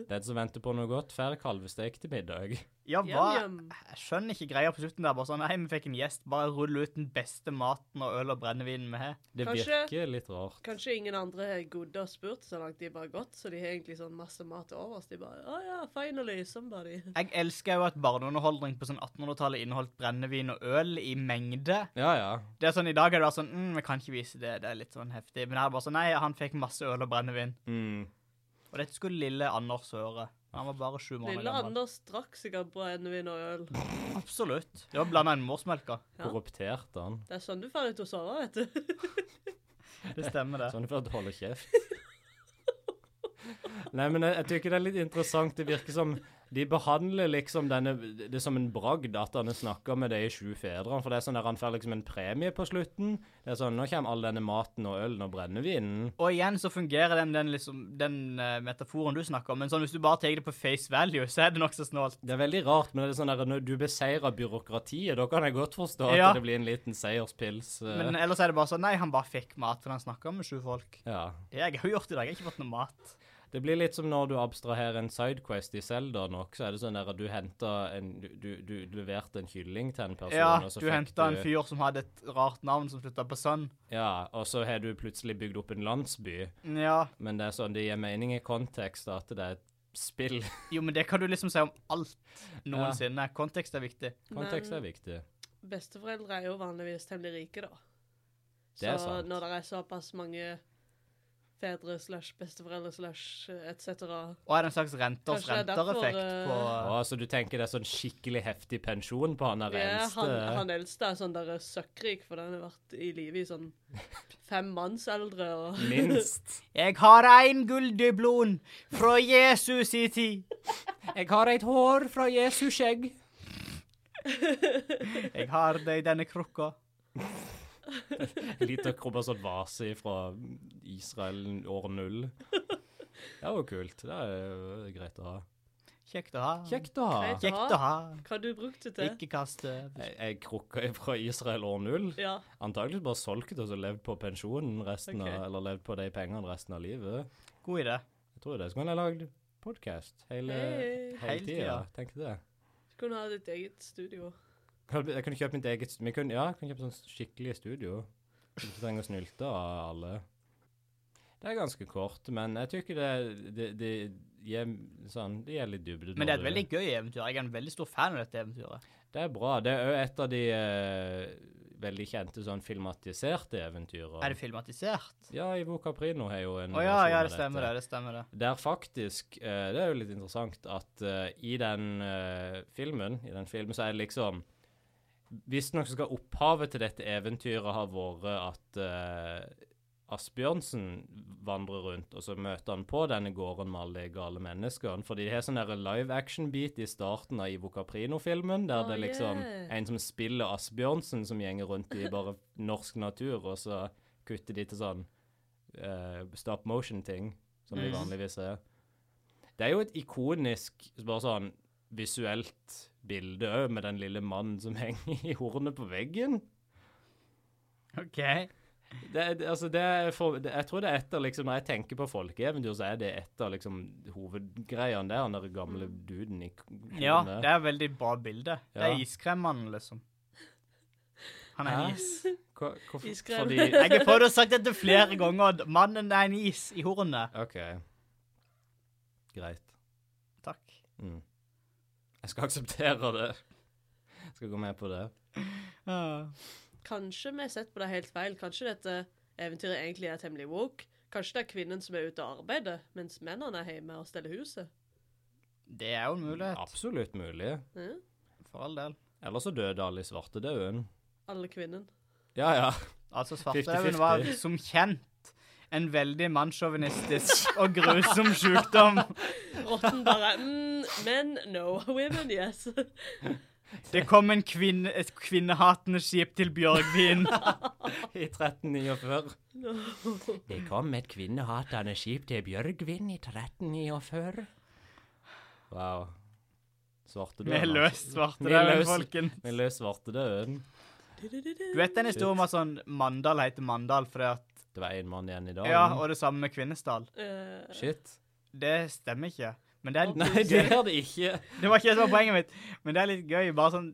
Speaker 1: Den som venter på noe godt, får kalvestek til middag.
Speaker 2: Ja, hva?
Speaker 3: Yum, yum.
Speaker 2: Jeg skjønner ikke greia på slutten der. Bare sånn, hei, vi fikk en gjest. Bare rull ut den beste maten og øl og brennevinen vi har.
Speaker 1: Det
Speaker 3: Kanskje-
Speaker 1: virker litt rart.
Speaker 3: Kanskje ingen andre har gode og spurt så langt de bare har gått, så de har egentlig sånn masse mat til overs. De bare Å ja, finally, somebody.
Speaker 2: Jeg elsker jo at barneunderholdning på sånn 1800-tallet inneholdt brennevin og øl i mengde.
Speaker 1: Ja, ja.
Speaker 2: Det er sånn, I dag er det bare sånn mm, Vi kan ikke vise det. Det er litt sånn heftig. Men jeg er bare sånn Nei, han fikk masse øl og brennevin.
Speaker 1: Mm.
Speaker 2: Og dette skulle lille Anders høre. Han var bare sju måneder
Speaker 3: Lille
Speaker 2: gammel.
Speaker 3: Anders drakk sikkert brennevin og øl.
Speaker 2: Absolutt. Det var blanda inn med morsmelka.
Speaker 3: Ja.
Speaker 1: Korrupterte han.
Speaker 3: Det er sånn du får ut å sove, vet du.
Speaker 2: Det stemmer, det.
Speaker 1: Sånn for at du holder kjeft. Nei, men jeg, jeg tykker det er litt interessant. Det virker som de behandler liksom denne Det er som en bragd at han snakker med de sju fedrene. For det er sånn der han får liksom en premie på slutten. Det er sånn Nå kommer all denne maten og ølen og brennevinen.
Speaker 2: Og igjen så fungerer den, den, liksom, den eh, metaforen du snakker om, men sånn hvis du bare tar det på face value, så er det nokså snålt.
Speaker 1: Det er veldig rart, men det er sånn der når du beseirer byråkratiet, da kan jeg godt forstå at
Speaker 2: Ja.
Speaker 1: det blir en liten seierspils. eh,
Speaker 2: Men ellers er det bare sånn Nei, han bare fikk mat, for han snakka med sju folk.
Speaker 1: ja.
Speaker 2: Jeg har jo gjort i dag, jeg har ikke fått noe mat.
Speaker 1: Det blir litt som når du abstraherer en sidequest i Zelda nok, så er det sånn der at du hentet en Du, du, du leverte en kylling til en person,
Speaker 2: Ja,
Speaker 1: og så
Speaker 2: du
Speaker 1: fikk
Speaker 2: henta en fyr som hadde et rart navn som slutta på sønn.
Speaker 1: Ja, og så har du plutselig bygd opp en landsby.
Speaker 2: Ja.
Speaker 1: Men det er sånn, det gir mening i kontekst at det er et spill.
Speaker 2: Jo, men det kan du liksom si om alt noensinne. Kontekst er viktig.
Speaker 1: Kontekst er
Speaker 3: Men
Speaker 1: viktig.
Speaker 3: besteforeldre er jo vanligvis temmelig rike, da. Så
Speaker 1: Det er sant.
Speaker 3: når det er såpass mange fedre slash besteforeldre slash etc.
Speaker 2: Og er det en slags renters
Speaker 3: Kanskje det er derfor,
Speaker 2: rentereffekt
Speaker 3: eh,
Speaker 2: på
Speaker 1: Å, så du tenker det er sånn skikkelig heftig pensjon på han der
Speaker 3: Ja,
Speaker 1: eneste?
Speaker 3: han, han eldste er sånn der søkkrik, for han har vært i live i sånn fem manns eldre. Og
Speaker 1: Minst.
Speaker 2: Jeg har en gulldublon fra Jesus i tid.
Speaker 1: Jeg har et hår fra Jesus skjegg.
Speaker 2: Jeg har det i denne krukka.
Speaker 1: Liter krummer sånn vase fra Israel år null. Det var jo kult. Det er jo greit å ha.
Speaker 2: Kjekt å ha.
Speaker 1: Kjekt å ha.
Speaker 3: Greit.
Speaker 2: Kjekt å ha.
Speaker 3: hva har du brukt det til?
Speaker 2: Ikke eh, kaste.
Speaker 1: Jeg, jeg krukka fra Israel år null.
Speaker 3: Ja,
Speaker 1: Antakeligvis bare solgt og så levd på pensjonen resten
Speaker 3: Ok.
Speaker 1: av, eller levd på de pengene resten av livet.
Speaker 2: God idé.
Speaker 1: Jeg tror det. Så kunne jeg lagd podkast hele,
Speaker 3: Hei.
Speaker 1: hele
Speaker 2: Hele
Speaker 1: tida.
Speaker 2: tida.
Speaker 1: Tenk det.
Speaker 3: du kunne ha ditt eget studio.
Speaker 1: Kan- Jeg kunne kjøpt mitt eget st- vi kunne, Ja, jeg kunne kjøpt sånn skikkelig studio. Så Du ikke trenger å snylte av alle. Det er ganske kort, men jeg tykker det det, det, gir, sånn, det gir litt dybde.
Speaker 2: Men det
Speaker 1: når
Speaker 2: er et veldig gøy eventyr. Jeg er en veldig stor fan av dette eventyret.
Speaker 1: Det er bra. Det er òg et av de eh, veldig kjente sånn filmatiserte eventyrene.
Speaker 2: Er det filmatisert?
Speaker 1: Ja, Ivo Caprino har jo en
Speaker 2: Å ja,
Speaker 1: versjon
Speaker 2: ja,
Speaker 1: av
Speaker 2: det stemmer det. det stemmer det.
Speaker 1: Der faktisk eh, Det er jo litt interessant at eh, i den eh, filmen, i den filmen, så er det liksom Visstnok så skal opphavet til dette eventyret ha vært at eh, Asbjørnsen vandrer rundt, og så møter han på denne gården med alle de gale menneskene. For de har sånn der live action-bit i starten av Ivo Caprino-filmen, der
Speaker 3: Å,
Speaker 1: det er liksom
Speaker 3: yeah.
Speaker 1: en som spiller Asbjørnsen, som gjenger rundt i bare norsk natur, og så kutter de til sånn eh, stop motion-ting, som de
Speaker 2: Mm.
Speaker 1: vanligvis er. Det er jo et ikonisk, bare sånn visuelt bilde òg, med den lille mannen som henger i hornet på veggen.
Speaker 2: OK.
Speaker 1: Det, er- det, altså det er for, det, jeg tror det er et av liksom, Når jeg tenker på folkeeventyr, så er det et av liksom, hovedgreiene der, han der gamle duden i k-
Speaker 2: Mm. Ja,
Speaker 1: hornet.
Speaker 2: det er et veldig bra bilde. Det
Speaker 1: Ja.
Speaker 2: er iskremmene, liksom. Han er
Speaker 1: Hæ?
Speaker 2: en is.
Speaker 1: Hva- hvorfor-
Speaker 3: Iskrev.
Speaker 1: Fordi
Speaker 2: Jeg har prøvd å sagt dette flere ganger. at Mannen er en is i hornet.
Speaker 1: OK. Greit.
Speaker 2: Takk.
Speaker 1: Mm. Jeg skal akseptere det. Jeg skal gå med på det.
Speaker 2: Ja.
Speaker 3: Kanskje vi har sett på det helt feil. Kanskje dette eventyret egentlig er temmelig woke. Kanskje det er kvinnen som er ute og arbeider, mens mennene er hjemme og steller huset.
Speaker 2: Det er jo en mulighet.
Speaker 1: Absolutt mulig.
Speaker 3: Ja.
Speaker 2: For all del.
Speaker 1: Eller så døde alle i svartedauden.
Speaker 3: Alle kvinnen.
Speaker 1: Ja, ja.
Speaker 2: Altså,
Speaker 1: 50-50.
Speaker 2: Svartedauden var som kjent en veldig mannssjåvinistisk og grusom sykdom.
Speaker 3: Rotten bare mm, Men no. Women, yes. Eh,
Speaker 2: Det kom en kvinne, et kvinnehatende skip til Bjørgvin.
Speaker 1: I 1349.
Speaker 3: No.
Speaker 1: Det kom et kvinnehatende skip til Bjørgvin i 1349. Wow. Svartedauden.
Speaker 2: Med løs
Speaker 1: Med
Speaker 2: svartedauden,
Speaker 1: løs-
Speaker 2: folken.
Speaker 1: Med løs svartedauden.
Speaker 2: Du vet den historien om at sånn Mandal heter Mandal fordi at
Speaker 1: Det var én mann igjen i dag.
Speaker 2: Ja, og det samme med Kvinesdal.
Speaker 3: Eh,
Speaker 1: Shit.
Speaker 2: Det stemmer ikke. Men det er
Speaker 1: Nei, det er det ikke.
Speaker 2: Det var ikke det som var poenget mitt, men det er litt gøy. Bare sånn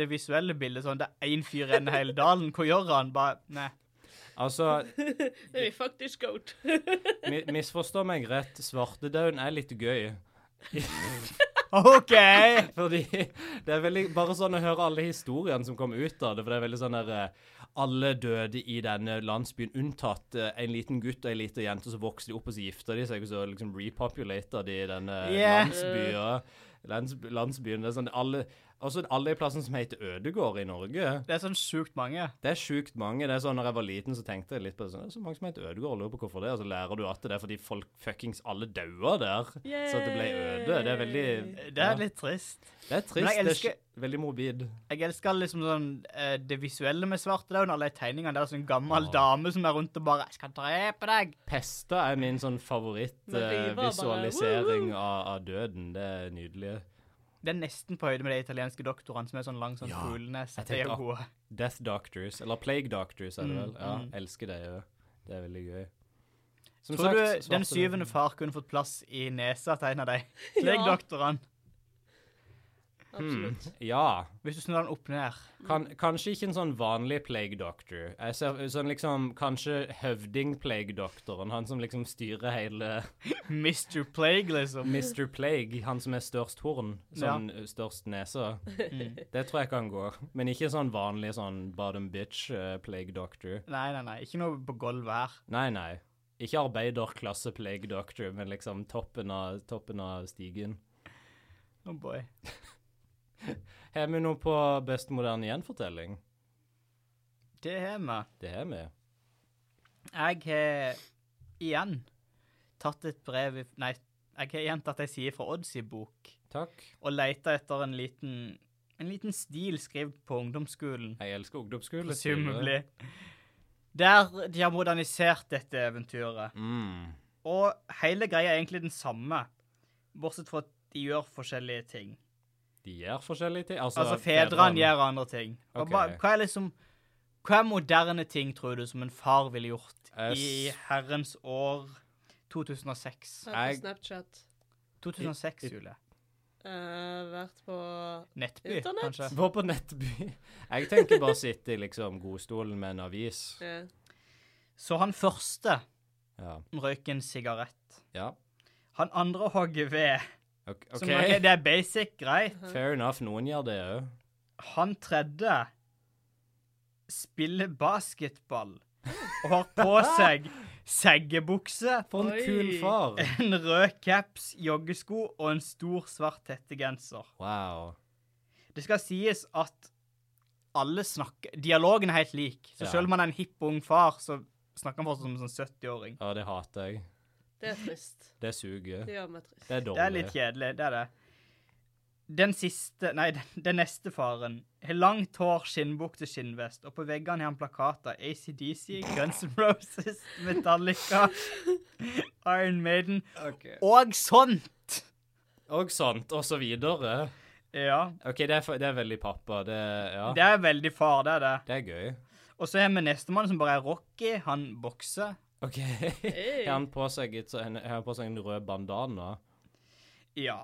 Speaker 2: det visuelle bildet. sånn, Det er én fyr igjen i hele dalen. Hva gjør han? Bare Nei.
Speaker 1: Altså,
Speaker 3: Hey, fuck this goat.
Speaker 1: mi- misforstå meg rett, svartedauden er litt gøy.
Speaker 2: OK!
Speaker 1: Fordi det er veldig Bare sånn å høre alle historiene som kom ut av det, for det er veldig sånn der eh, Alle døde i denne landsbyen, unntatt eh, en liten gutt og ei lita jente, så vokste de opp og så gifta de seg, og så liksom repopulater de denne
Speaker 2: Yeah.
Speaker 1: landsbyen. Landsby, landsbyen. Det er sånn alle Altså alle i plassen som heter Ødegård i Norge.
Speaker 2: Det er sånn sjukt mange.
Speaker 1: Det er sjukt mange. det er sånn, når jeg var liten, så tenkte jeg litt på det. sånn, Det er så mange som heter Ødegård, lurer på hvorfor det er. Og så lærer du at det er fordi folk fuckings alle daua der. Så at det ble øde. Det er veldig
Speaker 2: Det er litt trist.
Speaker 1: Det er trist.
Speaker 2: Men jeg
Speaker 1: Det er sj- veldig morbid.
Speaker 2: Jeg elsker liksom sånn eh, det visuelle med svarte daun, alle de tegningene. Det er sånn gammel dame som er rundt og bare 'Jeg skal drepe deg'.
Speaker 1: Pesta er min sånn
Speaker 3: Men river bare,
Speaker 1: favorittvisualisering av, av døden. Det er nydelig.
Speaker 2: Det er nesten på høyde med de italienske doktorene som er sånn lang sånn
Speaker 1: Ja,
Speaker 2: fuglenese.
Speaker 1: jeg
Speaker 2: De er
Speaker 1: tenkte
Speaker 2: jo gode.
Speaker 1: Death Doctors, eller Plague Doctors, er det vel.
Speaker 2: Mm,
Speaker 1: Ja,
Speaker 2: mm.
Speaker 1: elsker det jo. Det er veldig gøy. Som
Speaker 2: Tror
Speaker 1: sagt,
Speaker 2: du den
Speaker 1: svarte-
Speaker 2: syvende far kunne fått plass i nesa til en av de? Legdoktorene.
Speaker 1: Hmm.
Speaker 3: Absolutt.
Speaker 1: Ja.
Speaker 2: Hvis du snur den opp ned.
Speaker 1: Kan, kanskje ikke en sånn vanlig plague doctor. Jeg ser sånn liksom Kanskje høvding-plague-doktoren. Han som liksom styrer hele
Speaker 2: Mr. Plague, liksom.
Speaker 1: Mr. Plague. Han som er størst horn. Sånn størst nese.
Speaker 2: Mm.
Speaker 1: Det tror jeg kan gå. Men ikke sånn vanlig sånn bottom bitch-plague doctor.
Speaker 2: Nei, nei, nei. Ikke noe på gulvet her.
Speaker 1: Nei, nei. Ikke arbeiderklasse-plague doctor, men liksom toppen av, toppen av stigen.
Speaker 2: Oh boy.
Speaker 1: Har vi noe på best moderne gjenfortelling?
Speaker 2: Det har vi.
Speaker 1: Det har vi.
Speaker 2: Jeg har igjen tatt et brev i- Nei, jeg har igjen tatt ei side fra Odds i bok
Speaker 1: Takk.
Speaker 2: og leita etter en liten, en liten stil skrevet på ungdomsskolen.
Speaker 1: Jeg elsker ungdomsskole.
Speaker 2: Presumably. Der de har modernisert dette eventyret.
Speaker 1: Mm.
Speaker 2: Og hele greia er egentlig den samme, bortsett fra at de gjør forskjellige ting.
Speaker 1: De gjør forskjellige ting? Altså,
Speaker 2: Altså, fedrene gjør andre ting. Og
Speaker 1: Ok.
Speaker 2: ba- Hva er liksom Hva er moderne ting, tror du, som en far ville gjort
Speaker 1: Jeg
Speaker 2: i
Speaker 1: s-
Speaker 2: herrens år 2006?
Speaker 3: Vært på
Speaker 1: Jeg-
Speaker 3: Snapchat.
Speaker 2: 2006, Jule.
Speaker 3: Eh, vært på
Speaker 2: Nettby,
Speaker 3: Internett.
Speaker 2: kanskje?
Speaker 1: Gå på Nettby. Jeg tenker bare å sitte i liksom godstolen med en avis.
Speaker 3: eh,
Speaker 2: Så han første
Speaker 1: Ja.
Speaker 2: røyk en sigarett.
Speaker 1: ja.
Speaker 2: Han andre hogger ved.
Speaker 1: Ok,
Speaker 2: Som,
Speaker 1: ok.
Speaker 2: ok, det er basic, greit.
Speaker 1: Fair enough. Noen gjør det òg.
Speaker 2: Han tredje spiller basketball og har på seg seggebukse.
Speaker 1: For en
Speaker 3: Oi.
Speaker 1: kul far.
Speaker 2: En rød caps, joggesko og en stor svart hettegenser.
Speaker 1: Wow.
Speaker 2: Det skal sies at alle snakker Dialogen er helt lik. Så
Speaker 1: Ja.
Speaker 2: selv om han er en hipp og ung far, så snakker han fortsatt som en sånn 70-åring.
Speaker 1: Ja, det hater jeg.
Speaker 3: det er trist.
Speaker 1: Det suger.
Speaker 3: Det gjør meg trist.
Speaker 1: Det er dårlig.
Speaker 2: Det er litt kjedelig, det er det. Den siste Nei, den, den neste faren har langt hår, skinnbukse, skinnvest, og på veggene har han plakater ACDC, Guns N' Roses, Metallica, Iron Maiden og sånn. sånt!
Speaker 1: Og sånt, og så videre.
Speaker 2: Ja.
Speaker 1: OK, det er, fa- det er veldig pappa. Det, ja.
Speaker 2: Det er veldig far, det er det.
Speaker 1: det er gøy.
Speaker 2: Og så har vi nestemann som bare er Rocky. Han bokser.
Speaker 1: OK. Har han på seg, et, så- har han på seg en rød bandana?
Speaker 2: Ja.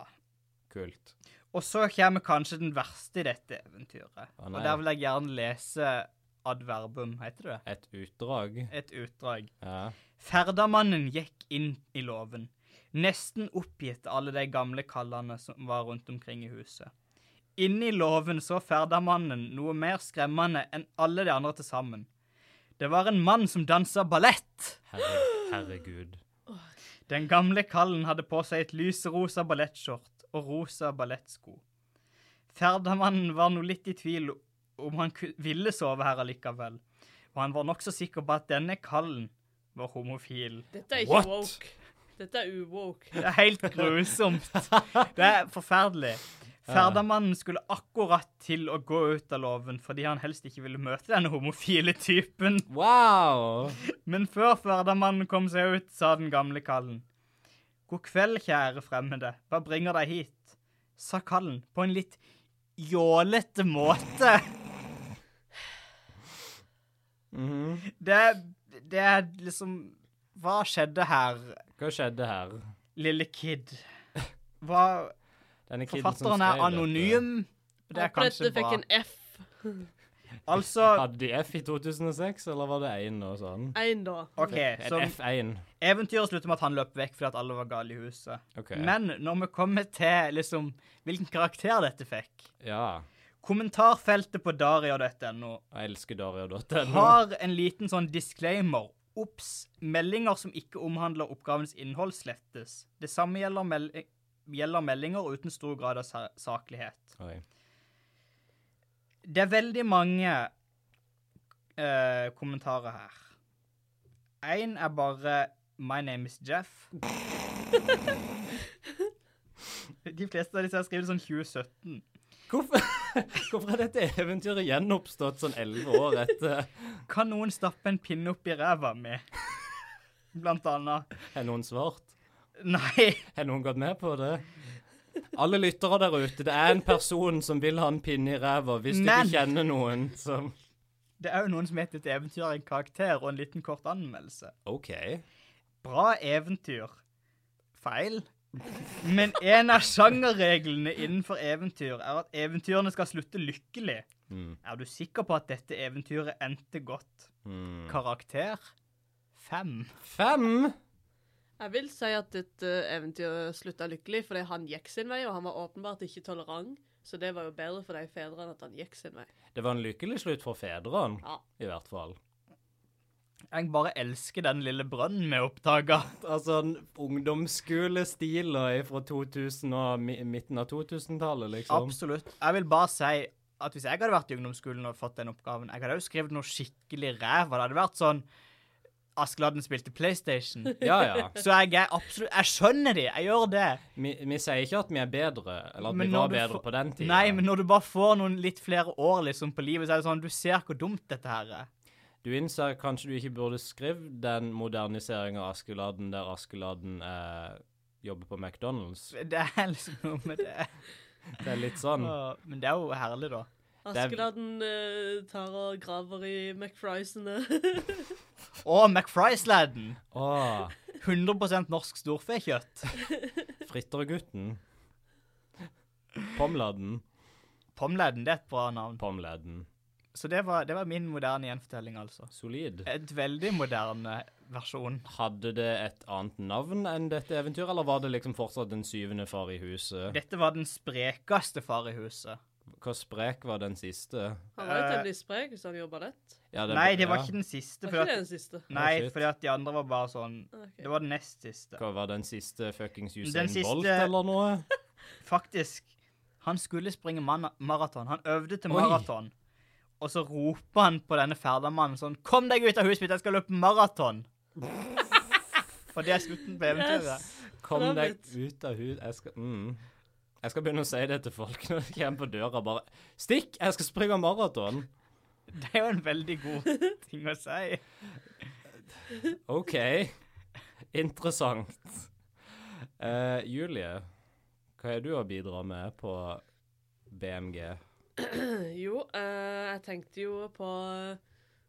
Speaker 1: Kult.
Speaker 2: Og så kommer kanskje den verste i dette eventyret.
Speaker 1: Å, nei.
Speaker 2: og der vil jeg gjerne lese adverbum, heter det.
Speaker 1: Et utdrag.
Speaker 2: Et utdrag.
Speaker 1: Ja.
Speaker 2: Ferdamannen gikk inn i låven, nesten oppgitt av alle de gamle kallene som var rundt omkring i huset. Inne i låven så ferdamannen noe mer skremmende enn alle de andre til sammen. Det var en mann som dansa ballett!
Speaker 1: Herre, herregud.
Speaker 2: Den gamle kallen hadde på seg et lyserosa ballettskjort og rosa ballettsko. Ferdamannen var nå litt i tvil om han ku- ville sove her allikevel, og han var nokså sikker på at denne kallen var homofil.
Speaker 3: Dette er ikke
Speaker 1: What?
Speaker 3: woke. Dette er uwoke.
Speaker 2: Det er helt grusomt. Det er forferdelig. Ferdamannen skulle akkurat til å gå ut av låven fordi han helst ikke ville møte denne homofile typen.
Speaker 1: Wow!
Speaker 2: Men før ferdamannen kom seg ut, sa den gamle kallen. God kveld, kjære fremmede, hva bringer deg hit? sa kallen på en litt jålete måte.
Speaker 1: Mhm.
Speaker 2: Det, det er liksom Hva skjedde her,
Speaker 1: Hva skjedde her?
Speaker 2: lille kid? Hva,
Speaker 1: Denne kiden som
Speaker 2: forfatteren er
Speaker 1: skrev dette.
Speaker 2: anonym. Det er
Speaker 3: Håper
Speaker 2: kanskje
Speaker 3: dette
Speaker 2: bra.
Speaker 3: fikk en F.
Speaker 2: Altså
Speaker 1: Hadde de F i 2006, eller var det 1 og sånn?
Speaker 3: Én, da.
Speaker 2: OK,
Speaker 1: Et
Speaker 2: så
Speaker 1: F1.
Speaker 2: eventyret slutter med at han løp vekk fordi at alle var gale i huset.
Speaker 1: OK.
Speaker 2: Men når vi kommer til liksom hvilken karakter dette fikk
Speaker 1: Ja.
Speaker 2: Kommentarfeltet på daria.no
Speaker 1: Jeg elsker Dario.no.
Speaker 2: har en liten sånn disclaimer. Ops, meldinger som ikke omhandler oppgavens innhold, slettes. Det samme gjelder, mel gjelder meldinger uten stor grad av sa- saklighet.
Speaker 1: Oi.
Speaker 2: Det er veldig mange eh, kommentarer her. Én er bare 'My name is Jeff'. De fleste av disse er skrevet sånn 2017.
Speaker 1: Hvorfor, hvorfor er dette eventyret gjenoppstått sånn 11 år etter
Speaker 2: Kan noen stappe en pinne opp i ræva mi? Blant annet.
Speaker 1: Er noen svart?
Speaker 2: Nei.
Speaker 1: Har noen gått med på det? Alle lyttere der ute, det er en person som vil ha en pinne i ræva. Hvis du
Speaker 2: Men-
Speaker 1: ikke kjenner noen som
Speaker 2: Det er jo noen som heter Et eventyr er en karakter og en liten kort anmeldelse.
Speaker 1: OK.
Speaker 2: Bra eventyr. Feil. Men en av sjangerreglene innenfor eventyr er at eventyrene skal slutte lykkelig.
Speaker 1: Mm.
Speaker 2: Er du sikker på at dette eventyret endte godt?
Speaker 1: Mm.
Speaker 2: Karakter fem.
Speaker 1: Fem?
Speaker 3: Jeg vil si at dette eventyret slutta lykkelig, fordi han gikk sin vei, og han var åpenbart ikke tolerant. Så det var jo bedre for de fedrene at han gikk sin vei.
Speaker 1: Det var en lykkelig slutt for fedrene,
Speaker 3: Ja.
Speaker 1: i hvert fall.
Speaker 2: Jeg bare elsker den lille brønnen vi oppdaga.
Speaker 1: Altså en ungdomsskolestil og er fra 2000 og mi- midten av 2000-tallet, liksom.
Speaker 2: Absolutt. Jeg vil bare si at hvis jeg hadde vært i ungdomsskolen og fått den oppgaven, jeg hadde jo skrevet noe skikkelig ræva. Det hadde vært sånn Askeladden spilte PlayStation.
Speaker 1: Ja, ja.
Speaker 2: Så jeg er absolutt Jeg skjønner de, jeg gjør det.
Speaker 1: Vi, vi sier ikke at vi er bedre, eller at
Speaker 2: Men
Speaker 1: vi
Speaker 2: når
Speaker 1: var
Speaker 2: du
Speaker 1: bedre
Speaker 2: får-
Speaker 1: på den tida.
Speaker 2: Nei, men når du bare får noen litt flere år liksom på livet, så er det sånn Du ser hvor dumt dette her er.
Speaker 1: Du innser kanskje du ikke burde skrevet den moderniseringen av Askeladden der Askeladden eh, jobber på McDonald's.
Speaker 2: Det er liksom noe med det.
Speaker 1: Det er litt sånn.
Speaker 2: Åh, Men det er jo herlig, da.
Speaker 1: er-
Speaker 3: Askeladden eh, tar og graver i McFriesene.
Speaker 2: Å, McFriesladden!
Speaker 1: Åh,
Speaker 2: 100 norsk storfekjøtt.
Speaker 1: Frittergutten. Pomladden.
Speaker 2: Pomladden, det er et bra navn.
Speaker 1: Pomladden.
Speaker 2: Så det var, det var min moderne gjenfortelling, altså.
Speaker 1: Solid.
Speaker 2: Et veldig moderne versjon.
Speaker 1: Hadde det et annet navn enn dette eventyret, eller var det liksom fortsatt den syvende far i huset?
Speaker 2: Dette var den sprekeste far i huset.
Speaker 1: Hvor sprek var den siste?
Speaker 3: Han var jo
Speaker 2: Eh.
Speaker 3: temmelig sprek hvis han jobba lett.
Speaker 1: Ja, den-
Speaker 2: Nei, det var
Speaker 1: ja.
Speaker 2: ikke den siste.
Speaker 3: Var
Speaker 2: Fordi
Speaker 3: ikke det
Speaker 2: at,
Speaker 3: den siste?
Speaker 1: Oh,
Speaker 2: nei,
Speaker 1: shit.
Speaker 2: fordi at de andre var bare sånn
Speaker 3: Ok.
Speaker 2: Det var den nest siste.
Speaker 1: Hva var den siste fuckings
Speaker 2: Den
Speaker 1: Usain
Speaker 2: siste-
Speaker 1: Bolt eller noe?
Speaker 2: Faktisk, han skulle springe man- maraton. Han øvde til
Speaker 1: Oi.
Speaker 2: maraton. Og så roper han på denne ferdamannen sånn Kom deg ut av huset mitt, jeg skal løpe maraton! For det er slutten på eventyret.
Speaker 3: Yes.
Speaker 1: Kom deg
Speaker 3: Rabbit.
Speaker 1: ut av hud... Jeg skal mm. Jeg skal begynne å si det til folk når de kommer på døra. Bare 'Stikk! Jeg skal springe maraton!'
Speaker 2: Det er jo en veldig god ting å si.
Speaker 1: OK. Interessant. Eh, Julie, hva har du å bidra med på BMG?
Speaker 3: Jo, eh, jeg tenkte jo på eh,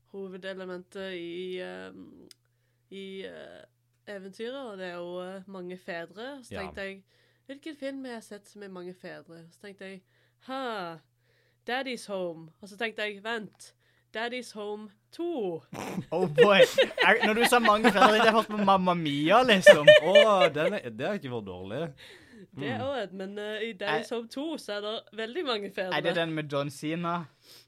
Speaker 3: hovedelementet i, eh, i eh, eventyret, og det er jo eh, mange fedre. Så
Speaker 1: Ja.
Speaker 3: tenkte jeg, hvilken film har jeg sett med mange fedre? Så tenkte jeg, ha, Daddy's Home. Og så tenkte jeg, vent, Daddy's Home 2.
Speaker 2: Oh boy. Jeg, når du sa mange fedre, tenkte jeg først på Mamma Mia, liksom.
Speaker 1: Å, den er- det har ikke vært dårlig.
Speaker 3: Det er også et, men eh, i Daddy's Home 2 så er det veldig mange
Speaker 2: Er Mm. det
Speaker 3: fedre.
Speaker 2: den med John Cena,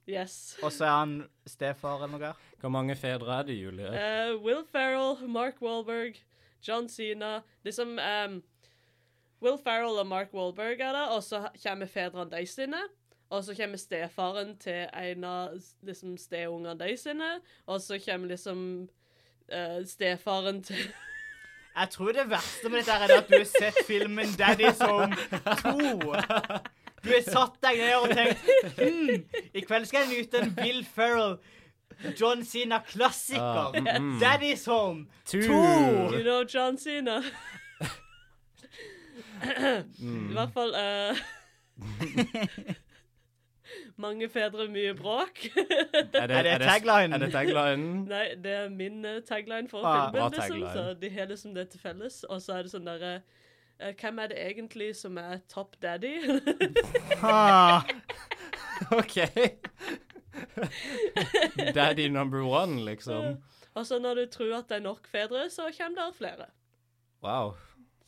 Speaker 3: Yes.
Speaker 2: og så er han stefar eller noe? greier?
Speaker 1: Hvor mange fedre er det, Julie?
Speaker 3: Eh, Will Ferrell, Mark Wahlberg, John Cena Liksom ehm, Will Ferrell og Mark Wahlberg er der, og så kommer fedrene de sine. Og så kommer stefaren til en av liksom, steungene de sine. Og så kommer liksom eh, stefaren til
Speaker 2: Jeg tror det verste med dette her er det at du har sett filmen Daddy's Home 2. Du har satt deg ned og tenkt hm, I kveld skal jeg nyte en Bill Ferrell, John Cena-klassiker.
Speaker 1: Ah, mm, mm.
Speaker 2: Daddy's Home.
Speaker 3: Do you know John Cena? I hvert fall eh, Mange fedre, mye bråk.
Speaker 2: Er det taglinen?
Speaker 1: Er det taglinen?
Speaker 3: Nei, det er min eh, tagline for
Speaker 2: Ah,
Speaker 1: bra
Speaker 3: filmen, liksom.
Speaker 1: tagline.
Speaker 3: Så de har liksom det til felles. Og så er det sånn derre eh, Hvem er det egentlig som er Top Daddy?
Speaker 2: Ah,
Speaker 1: OK. Daddy number one, liksom.
Speaker 3: Og så når du tror at det er nok fedre, så kommer det flere.
Speaker 1: Wow.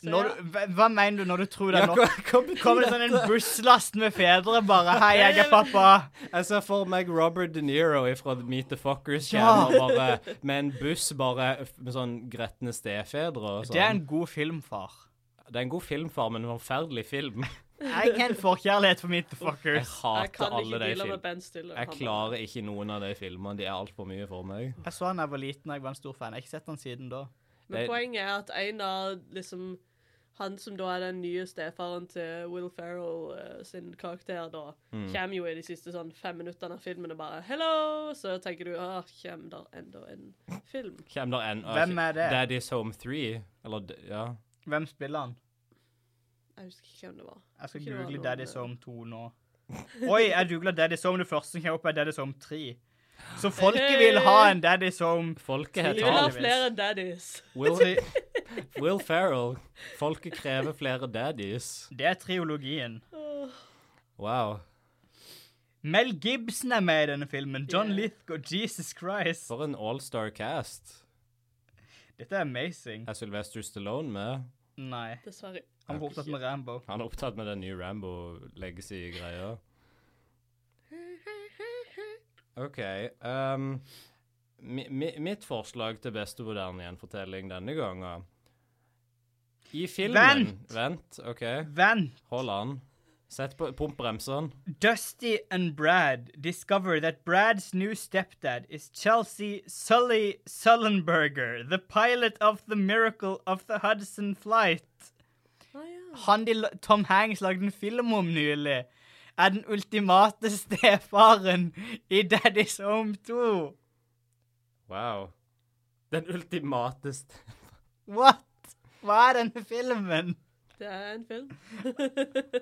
Speaker 3: Så
Speaker 2: Når
Speaker 3: ja.
Speaker 2: du, hva, hva mener du når du tror det er
Speaker 1: Ja,
Speaker 2: nok?
Speaker 1: hva- hva betyr
Speaker 2: Kommer det sånn en busslast med fedre bare Hei, jeg er pappa.
Speaker 1: Jeg ser for meg Robert De Niro ifra Meet the Fuckers
Speaker 2: Ja.
Speaker 1: kjenner bare med en buss bare f- med sånn gretne stefedre og sånn.
Speaker 2: Det er en god film, far.
Speaker 1: det er en god film, far, men en forferdelig film.
Speaker 2: Jeg kan forkjærlighet for mitt
Speaker 1: Jeg
Speaker 2: fuckers.
Speaker 3: Jeg
Speaker 1: hater
Speaker 3: kan ikke
Speaker 1: Ah, alle de
Speaker 3: deale med
Speaker 1: filmene.
Speaker 3: Ben Stiller.
Speaker 1: Jeg
Speaker 3: Han-
Speaker 1: klarer ikke noen av de filmene. De er altfor mye for meg.
Speaker 2: Jeg så han da jeg var liten, jeg var en stor fan. Jeg har ikke sett han siden da.
Speaker 1: Det-
Speaker 3: Men poenget er at en av liksom Han som da er den nye stefaren til Will Ferrell eh, sin karakter, da,
Speaker 1: Mm.
Speaker 3: kommer jo i de siste sånn fem minuttene av filmen og bare 'Hello!' Så tenker du 'Å, kommer der enda en film?'
Speaker 1: Hvem der enn
Speaker 2: Hvem er det?
Speaker 1: Daddy's Home 3. Eller, d- ja.
Speaker 2: Hvem spiller han?
Speaker 3: Jeg husker ikke hvem det var.
Speaker 2: Jeg skal
Speaker 3: Ikke det var
Speaker 2: google
Speaker 3: noen-
Speaker 2: Daddy's Home 2 nå. Oi, jeg googla Daddy's Home. Det første som kommer opp, er Daddy's Home 3. Så folket vil ha en Daddy's Home.
Speaker 1: Folket
Speaker 3: Vi
Speaker 1: har
Speaker 3: vil ha
Speaker 1: talt.
Speaker 3: flere daddies.
Speaker 1: Will, Will Ferrell. Folket krever flere daddies.
Speaker 2: Det er triologien.
Speaker 1: Wow.
Speaker 2: Mel Gibson er med i denne filmen. John
Speaker 3: Yeah.
Speaker 2: Lithgow, Jesus
Speaker 3: Oh.
Speaker 2: Christ.
Speaker 1: For en all-star cast.
Speaker 2: Dette er amazing.
Speaker 1: Er Sylvester Stallone med?
Speaker 2: Nei.
Speaker 3: Dessverre.
Speaker 2: Han var opptatt med Rambo.
Speaker 1: Han er opptatt med den nye Rambo legacy-greia. OK. ehm, mi, mi, mitt forslag til beste moderne gjenfortelling denne gangen I filmen Vent! OK.
Speaker 2: Vent.
Speaker 1: Hold an. Sett på Pump bremsene.
Speaker 2: Dusty and Brad discover that Brad's new stepdad is Chelsea Sully Sullenberger, the pilot of the Miracle of the Hudson Flight.
Speaker 3: Ah, ja.
Speaker 2: Han de, la- Tom Hanks lagde en film om nylig, er den ultimate stefaren i Daddy's Home 2.
Speaker 1: Wow. Den ultimate st-
Speaker 2: What? Hva er denne filmen?
Speaker 3: Det er en film.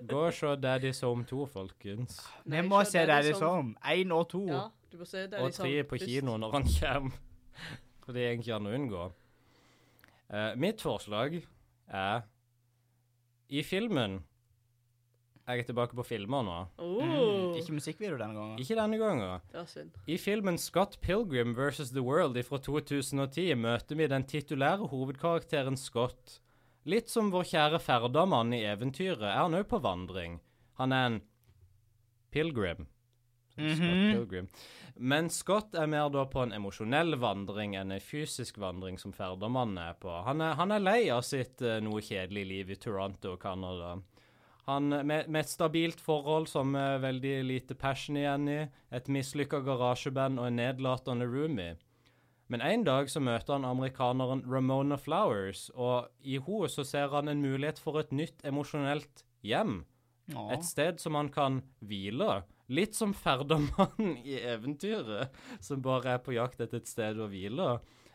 Speaker 1: Gå og se Daddy's Home 2, folkens.
Speaker 2: Vi
Speaker 3: Nei,
Speaker 2: må
Speaker 3: se
Speaker 2: se
Speaker 3: Daddy's
Speaker 2: Daddy's Home. Én og to.
Speaker 3: Ja, du må se Daddy's
Speaker 1: Og tre
Speaker 3: Home
Speaker 1: på
Speaker 3: først.
Speaker 1: kino når han kommer. For det er egentlig han å unngå. Eh, mitt forslag er I filmen Jeg er tilbake på filmer nå.
Speaker 3: Oh,
Speaker 2: Mm, Ikke musikkvideo denne gangen.
Speaker 1: Ikke denne gangen.
Speaker 3: det var synd.
Speaker 1: I filmen Scott Pilgrim vs. The World fra 2010 møter vi den titulære hovedkarakteren Scott. Litt som vår kjære ferdamann i eventyret er han òg på vandring. Han er en pilgrim. Scott Pilgrim. Men Scott er mer da på en emosjonell vandring enn en fysisk vandring som ferdamann er på. Han er, han er lei av sitt eh, noe kjedelige liv i Toronto, Canada. Han, eh, med, med et stabilt forhold som er veldig lite passion igjen i, et mislykka garasjeband og en nedlatende roomie. Men en dag så møter han amerikaneren Ramona Flowers, og i henne så ser han en mulighet for et nytt emosjonelt hjem.
Speaker 2: Åh.
Speaker 1: Et sted som han kan hvile. Litt som ferdermannen i eventyret, som bare er på jakt etter et sted å hvile.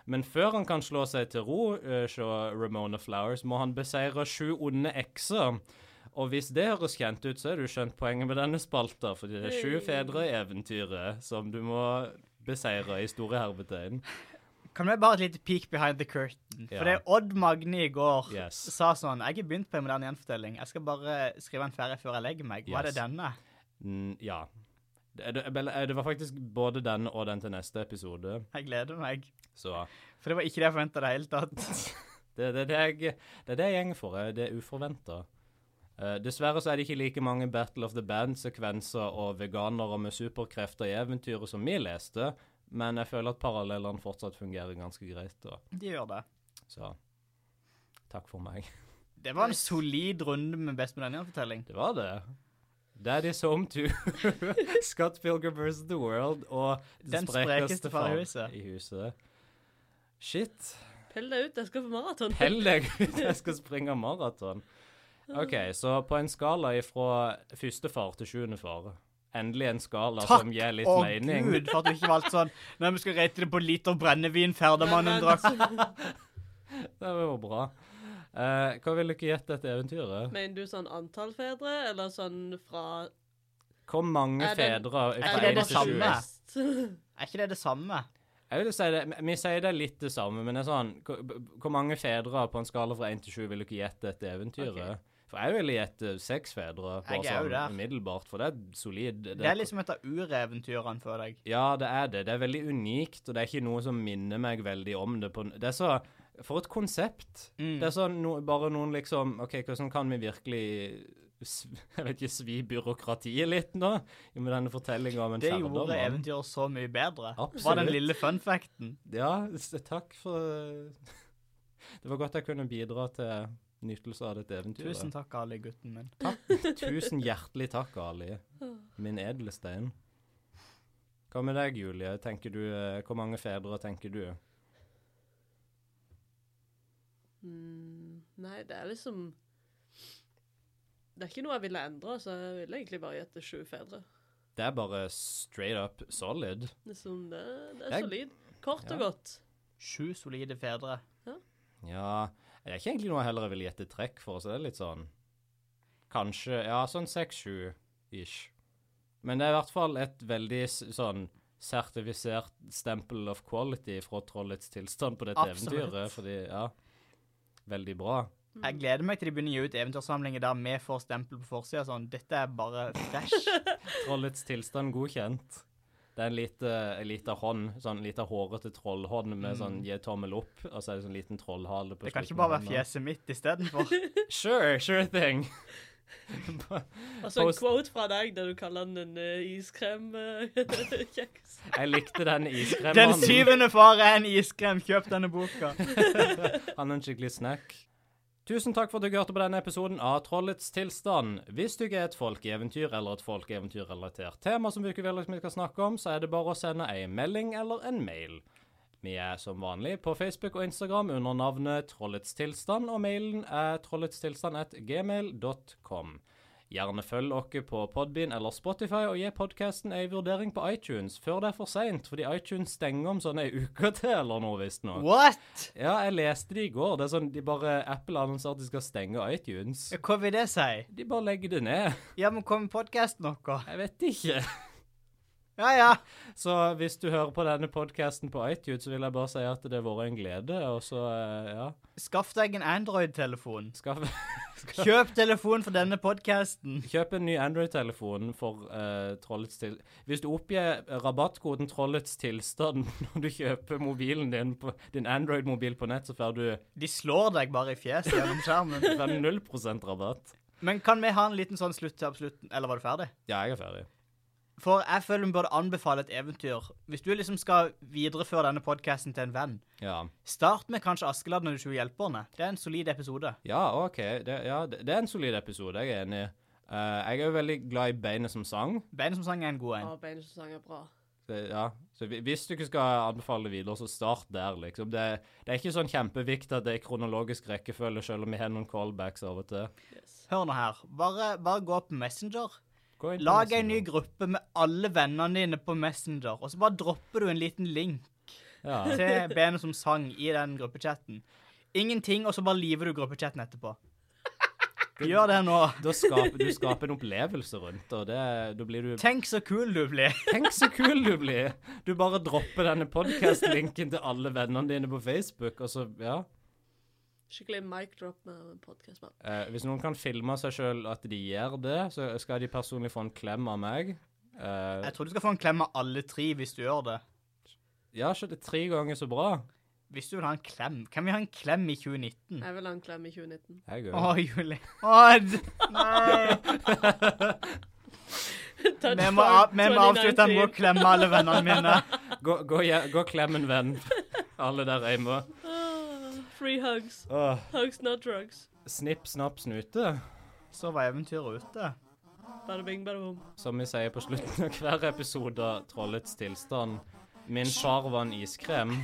Speaker 1: Men før han kan slå seg til ro, eh, se Ramona Flowers, må han beseire sju onde ekser. Og hvis det høres kjent ut, så er du skjønt poenget med denne spalta, fordi det er sju fedre i eventyret som du må beseire i store hermetegn.
Speaker 2: Kan vi bare ha et lite peek behind the curtain?
Speaker 1: Ja.
Speaker 2: For det Odd Magne i går
Speaker 1: Yes.
Speaker 2: sa sånn Jeg har begynt på en moderne gjenfortelling. Jeg skal bare skrive en ferie før jeg legger meg. Hva er
Speaker 1: Yes.
Speaker 2: det denne?
Speaker 1: Mm, ja. Det, det, det var faktisk både den og den til neste episode,
Speaker 2: Jeg gleder meg.
Speaker 1: så
Speaker 2: For det var ikke det jeg forventa i det hele tatt.
Speaker 1: Det, det, det, jeg, det er det jeg gjenger for. eh, Det er uforventa. Eh, dessverre så er det ikke like mange Battle of the Band-sekvenser og veganere med superkrefter i eventyret som vi leste, men jeg føler at parallellene fortsatt fungerer ganske greit. da.
Speaker 2: De gjør det.
Speaker 1: Så takk for meg.
Speaker 2: Det var en solid runde med Best moderne gjenfortelling.
Speaker 1: Det var det. Daddy's Home to Scott Pilgrim vs. The World og det
Speaker 2: Den sprekeste far i
Speaker 1: far
Speaker 2: huset.
Speaker 1: i huset. Shit.
Speaker 3: Pell deg ut, jeg skal på maraton.
Speaker 1: Pell deg ut, jeg skal springe maraton. OK, så på en skala ifra første far til sjuende far Endelig en skala som gir litt
Speaker 2: Å
Speaker 1: mening.
Speaker 2: gud, for at du ikke valgte sånn Nei, vi skal rate det på liter brennevin Ferdemannen drakk.
Speaker 1: Det var jo bra. Eh, hva vil dere gjette dette eventyret?
Speaker 3: Mener du sånn antall fedre, eller sånn fra
Speaker 1: Hvor mange
Speaker 3: Er det-
Speaker 1: fedre fra
Speaker 2: Er det
Speaker 1: én
Speaker 2: det
Speaker 1: til sju?
Speaker 2: samme?
Speaker 3: samme?
Speaker 2: Er ikke det det samme?
Speaker 1: Jeg vil si det, Vi sier det er litt det samme, men det er sånn Hvor, hvor mange fedre på en skala fra én til sju vil dere gjette dette eventyret? For jeg ville gjette seks fedre, bare
Speaker 2: Jeg er jo
Speaker 1: sånn
Speaker 2: der.
Speaker 1: umiddelbart, for det er solid. Det,
Speaker 2: Det er liksom et av ureventyrene, føler jeg.
Speaker 1: Ja, det er det. Det er veldig unikt, og det er ikke noe som minner meg veldig om det. På, det er så For et konsept.
Speaker 2: Mm.
Speaker 1: Det er sånn no, bare noen liksom OK, hvordan kan vi virkelig sv- jeg vet ikke, svi byråkratiet litt nå? Med denne fortellinga om en
Speaker 2: Det gjorde
Speaker 1: skjærdommer.
Speaker 2: eventyret så mye bedre. Var
Speaker 1: Absolutt.
Speaker 2: den lille fun facten.
Speaker 1: Ja, s- takk for Det var godt jeg kunne bidra til nytelse av dette eventyret.
Speaker 2: Tusen takk, Ali, gutten min.
Speaker 1: takk. Tusen hjertelig takk, Ali. Min edle stein. Hva med deg, Julie? Tenker du, eh, Hvor mange fedre tenker du?
Speaker 3: Mm, nei, det er liksom Det er ikke noe jeg ville endra, så jeg ville egentlig bare gjette sju fedre.
Speaker 1: Det er bare straight up solid.
Speaker 3: Liksom, det, det er
Speaker 1: Jeg-
Speaker 3: solid. Kort
Speaker 1: Ja.
Speaker 3: og godt.
Speaker 2: Sju solide fedre.
Speaker 1: Ja, det er ikke egentlig noe jeg heller vil gjette trekk for, så det er litt sånn Kanskje Ja, sånn 6-7 ish. Men det er i hvert fall et veldig s- sånn sertifisert stempel of quality fra trollets tilstand på dette
Speaker 2: Absolutt.
Speaker 1: eventyret, fordi Ja. Veldig bra.
Speaker 2: Jeg gleder meg til de begynner å gi ut eventyrsamlinger der vi får stempel på forsida sånn. Dette er bare fresh.
Speaker 1: Trollets tilstand godkjent. Det er en lite, en lite hånd, sånn lite hårete trollhånd med sånn gi tommel opp, og så er det sånn liten trollhale på
Speaker 2: Mm. Det kan ikke
Speaker 1: slutten
Speaker 2: bare
Speaker 1: av
Speaker 2: være
Speaker 1: hånden.
Speaker 2: fjeset mitt istedenfor.
Speaker 1: Sure, sure thing.
Speaker 3: Altså en
Speaker 1: Post-
Speaker 3: quote fra deg der du kaller den en uh, iskremkjeks.
Speaker 1: Jeg likte den
Speaker 2: Den
Speaker 1: iskremmannen.
Speaker 2: syvende far er en iskrem. Kjøp denne boka.
Speaker 1: Han er en skikkelig snack. Tusen takk for at du hørte på denne episoden av Trollets tilstand. Hvis du ikke er et folkeeventyr eller et folkeeventyrrelatert tema som vi ikke vil at vi skal snakke om, så er det bare å sende ei melding eller en mail. Vi er som vanlig på Facebook og Instagram under navnet Trollets tilstand, og mailen er trolletstilstand.gmail.com. Gjerne følg dere på Podbean eller Spotify, og gi podkasten ei vurdering på iTunes før det er for seint, fordi iTunes stenger om sånn ei uke til eller noe, visstnok.
Speaker 2: What?
Speaker 1: Ja, jeg leste det i går. Det er sånn, de bare, Apple annonserer at de skal stenge iTunes.
Speaker 2: Ja, Hva vil det si?
Speaker 1: De bare legger det ned.
Speaker 2: Ja, men kom podkasten noe?
Speaker 1: Jeg vet ikke.
Speaker 2: Ja, ja.
Speaker 1: Så hvis du hører på denne podkasten på iTunes, så vil jeg bare si at det har vært en glede, og så, eh, ja
Speaker 2: Skaff deg en Android-telefon.
Speaker 1: Skaff
Speaker 2: Kjøp telefon for denne podkasten.
Speaker 1: Kjøp en ny Android-telefon for eh, Trollets til... Hvis du oppgir rabattkoden Trollets tilstand når du kjøper mobilen din, på, din Android-mobil på nett, så får du,
Speaker 2: De slår deg bare i fjeset gjennom skjermen.
Speaker 1: får du 0 rabatt.
Speaker 2: Men kan vi ha en liten sånn slutt til absolutt? Eller var du ferdig?
Speaker 1: Ja, jeg er ferdig.
Speaker 2: For jeg føler vi burde anbefale et eventyr. Hvis du liksom skal videreføre denne podkasten til en venn,
Speaker 1: Ja.
Speaker 2: start med kanskje Askeladden og de sju hjelperne. Det er en solid episode.
Speaker 1: Ja, OK. Det, ja, det, det er en solid episode, jeg er enig. i. Eh, jeg er jo veldig glad i beinet som sang.
Speaker 2: Bein som sang er en god en.
Speaker 3: Ja, Beinersesong er bra.
Speaker 1: Det, ja. Så hvi- hvis du ikke skal anbefale det videre, så start der, liksom. Det, det er ikke sånn kjempeviktig at det er kronologisk rekkefølge, selv om vi har noen callbacks av og til.
Speaker 2: Hør nå her. Bare, bare gå på Messenger.
Speaker 1: Gå inn på
Speaker 2: Lag en ny
Speaker 1: Messenger.
Speaker 2: gruppe med alle vennene dine på Messenger, og så bare dropper du en liten link
Speaker 1: Ja.
Speaker 2: til benet som sang i den gruppechatten. Ingenting, og så bare liver du gruppechatten etterpå. Gjør det nå.
Speaker 1: Da skaper du skaper en opplevelse rundt, og det, da blir du
Speaker 2: Tenk så kul du blir.
Speaker 1: Tenk så kul du blir! Du bare dropper denne podkast-linken til alle vennene dine på Facebook, og så Ja.
Speaker 3: Skikkelig mic drop med podkast.
Speaker 1: Eh, hvis noen kan filme seg sjøl at de gjør det, så skal de personlig få en klem av meg. Eh,
Speaker 2: Jeg tror du skal få en klem av alle tre hvis du gjør det.
Speaker 1: ja, så det er tre ganger så bra.
Speaker 2: Hvis du vil ha en klem, kan vi ha en klem i 2019?
Speaker 3: Jeg vil ha en klem i 2019.
Speaker 1: Jeg
Speaker 2: Å,
Speaker 1: òg.
Speaker 2: Julie. Å, d- nei.
Speaker 3: Touch
Speaker 2: Vi må, av, vi må avslutte med å klemme alle vennene mine.
Speaker 1: Gå, gå, hje- gå og klem en venn, alle der hjemme.
Speaker 3: Ah, Free hugs.
Speaker 1: Åh,
Speaker 3: Hugs, not drugs.
Speaker 1: snipp, snapp, snute,
Speaker 2: Så var eventyret ute.
Speaker 3: Bada bing, bada boom.
Speaker 1: som vi sier på slutten av hver episode av Trollets tilstand. Min far var en iskrem.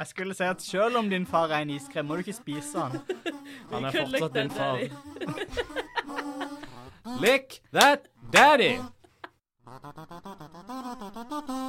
Speaker 2: Jeg skulle si at selv om din far er en iskrem, må du ikke spise han.
Speaker 1: Han er
Speaker 3: Could lick
Speaker 1: fortsatt
Speaker 3: that
Speaker 1: din far.
Speaker 3: daddy.
Speaker 1: Lick that daddy!
Speaker 4: Thank you.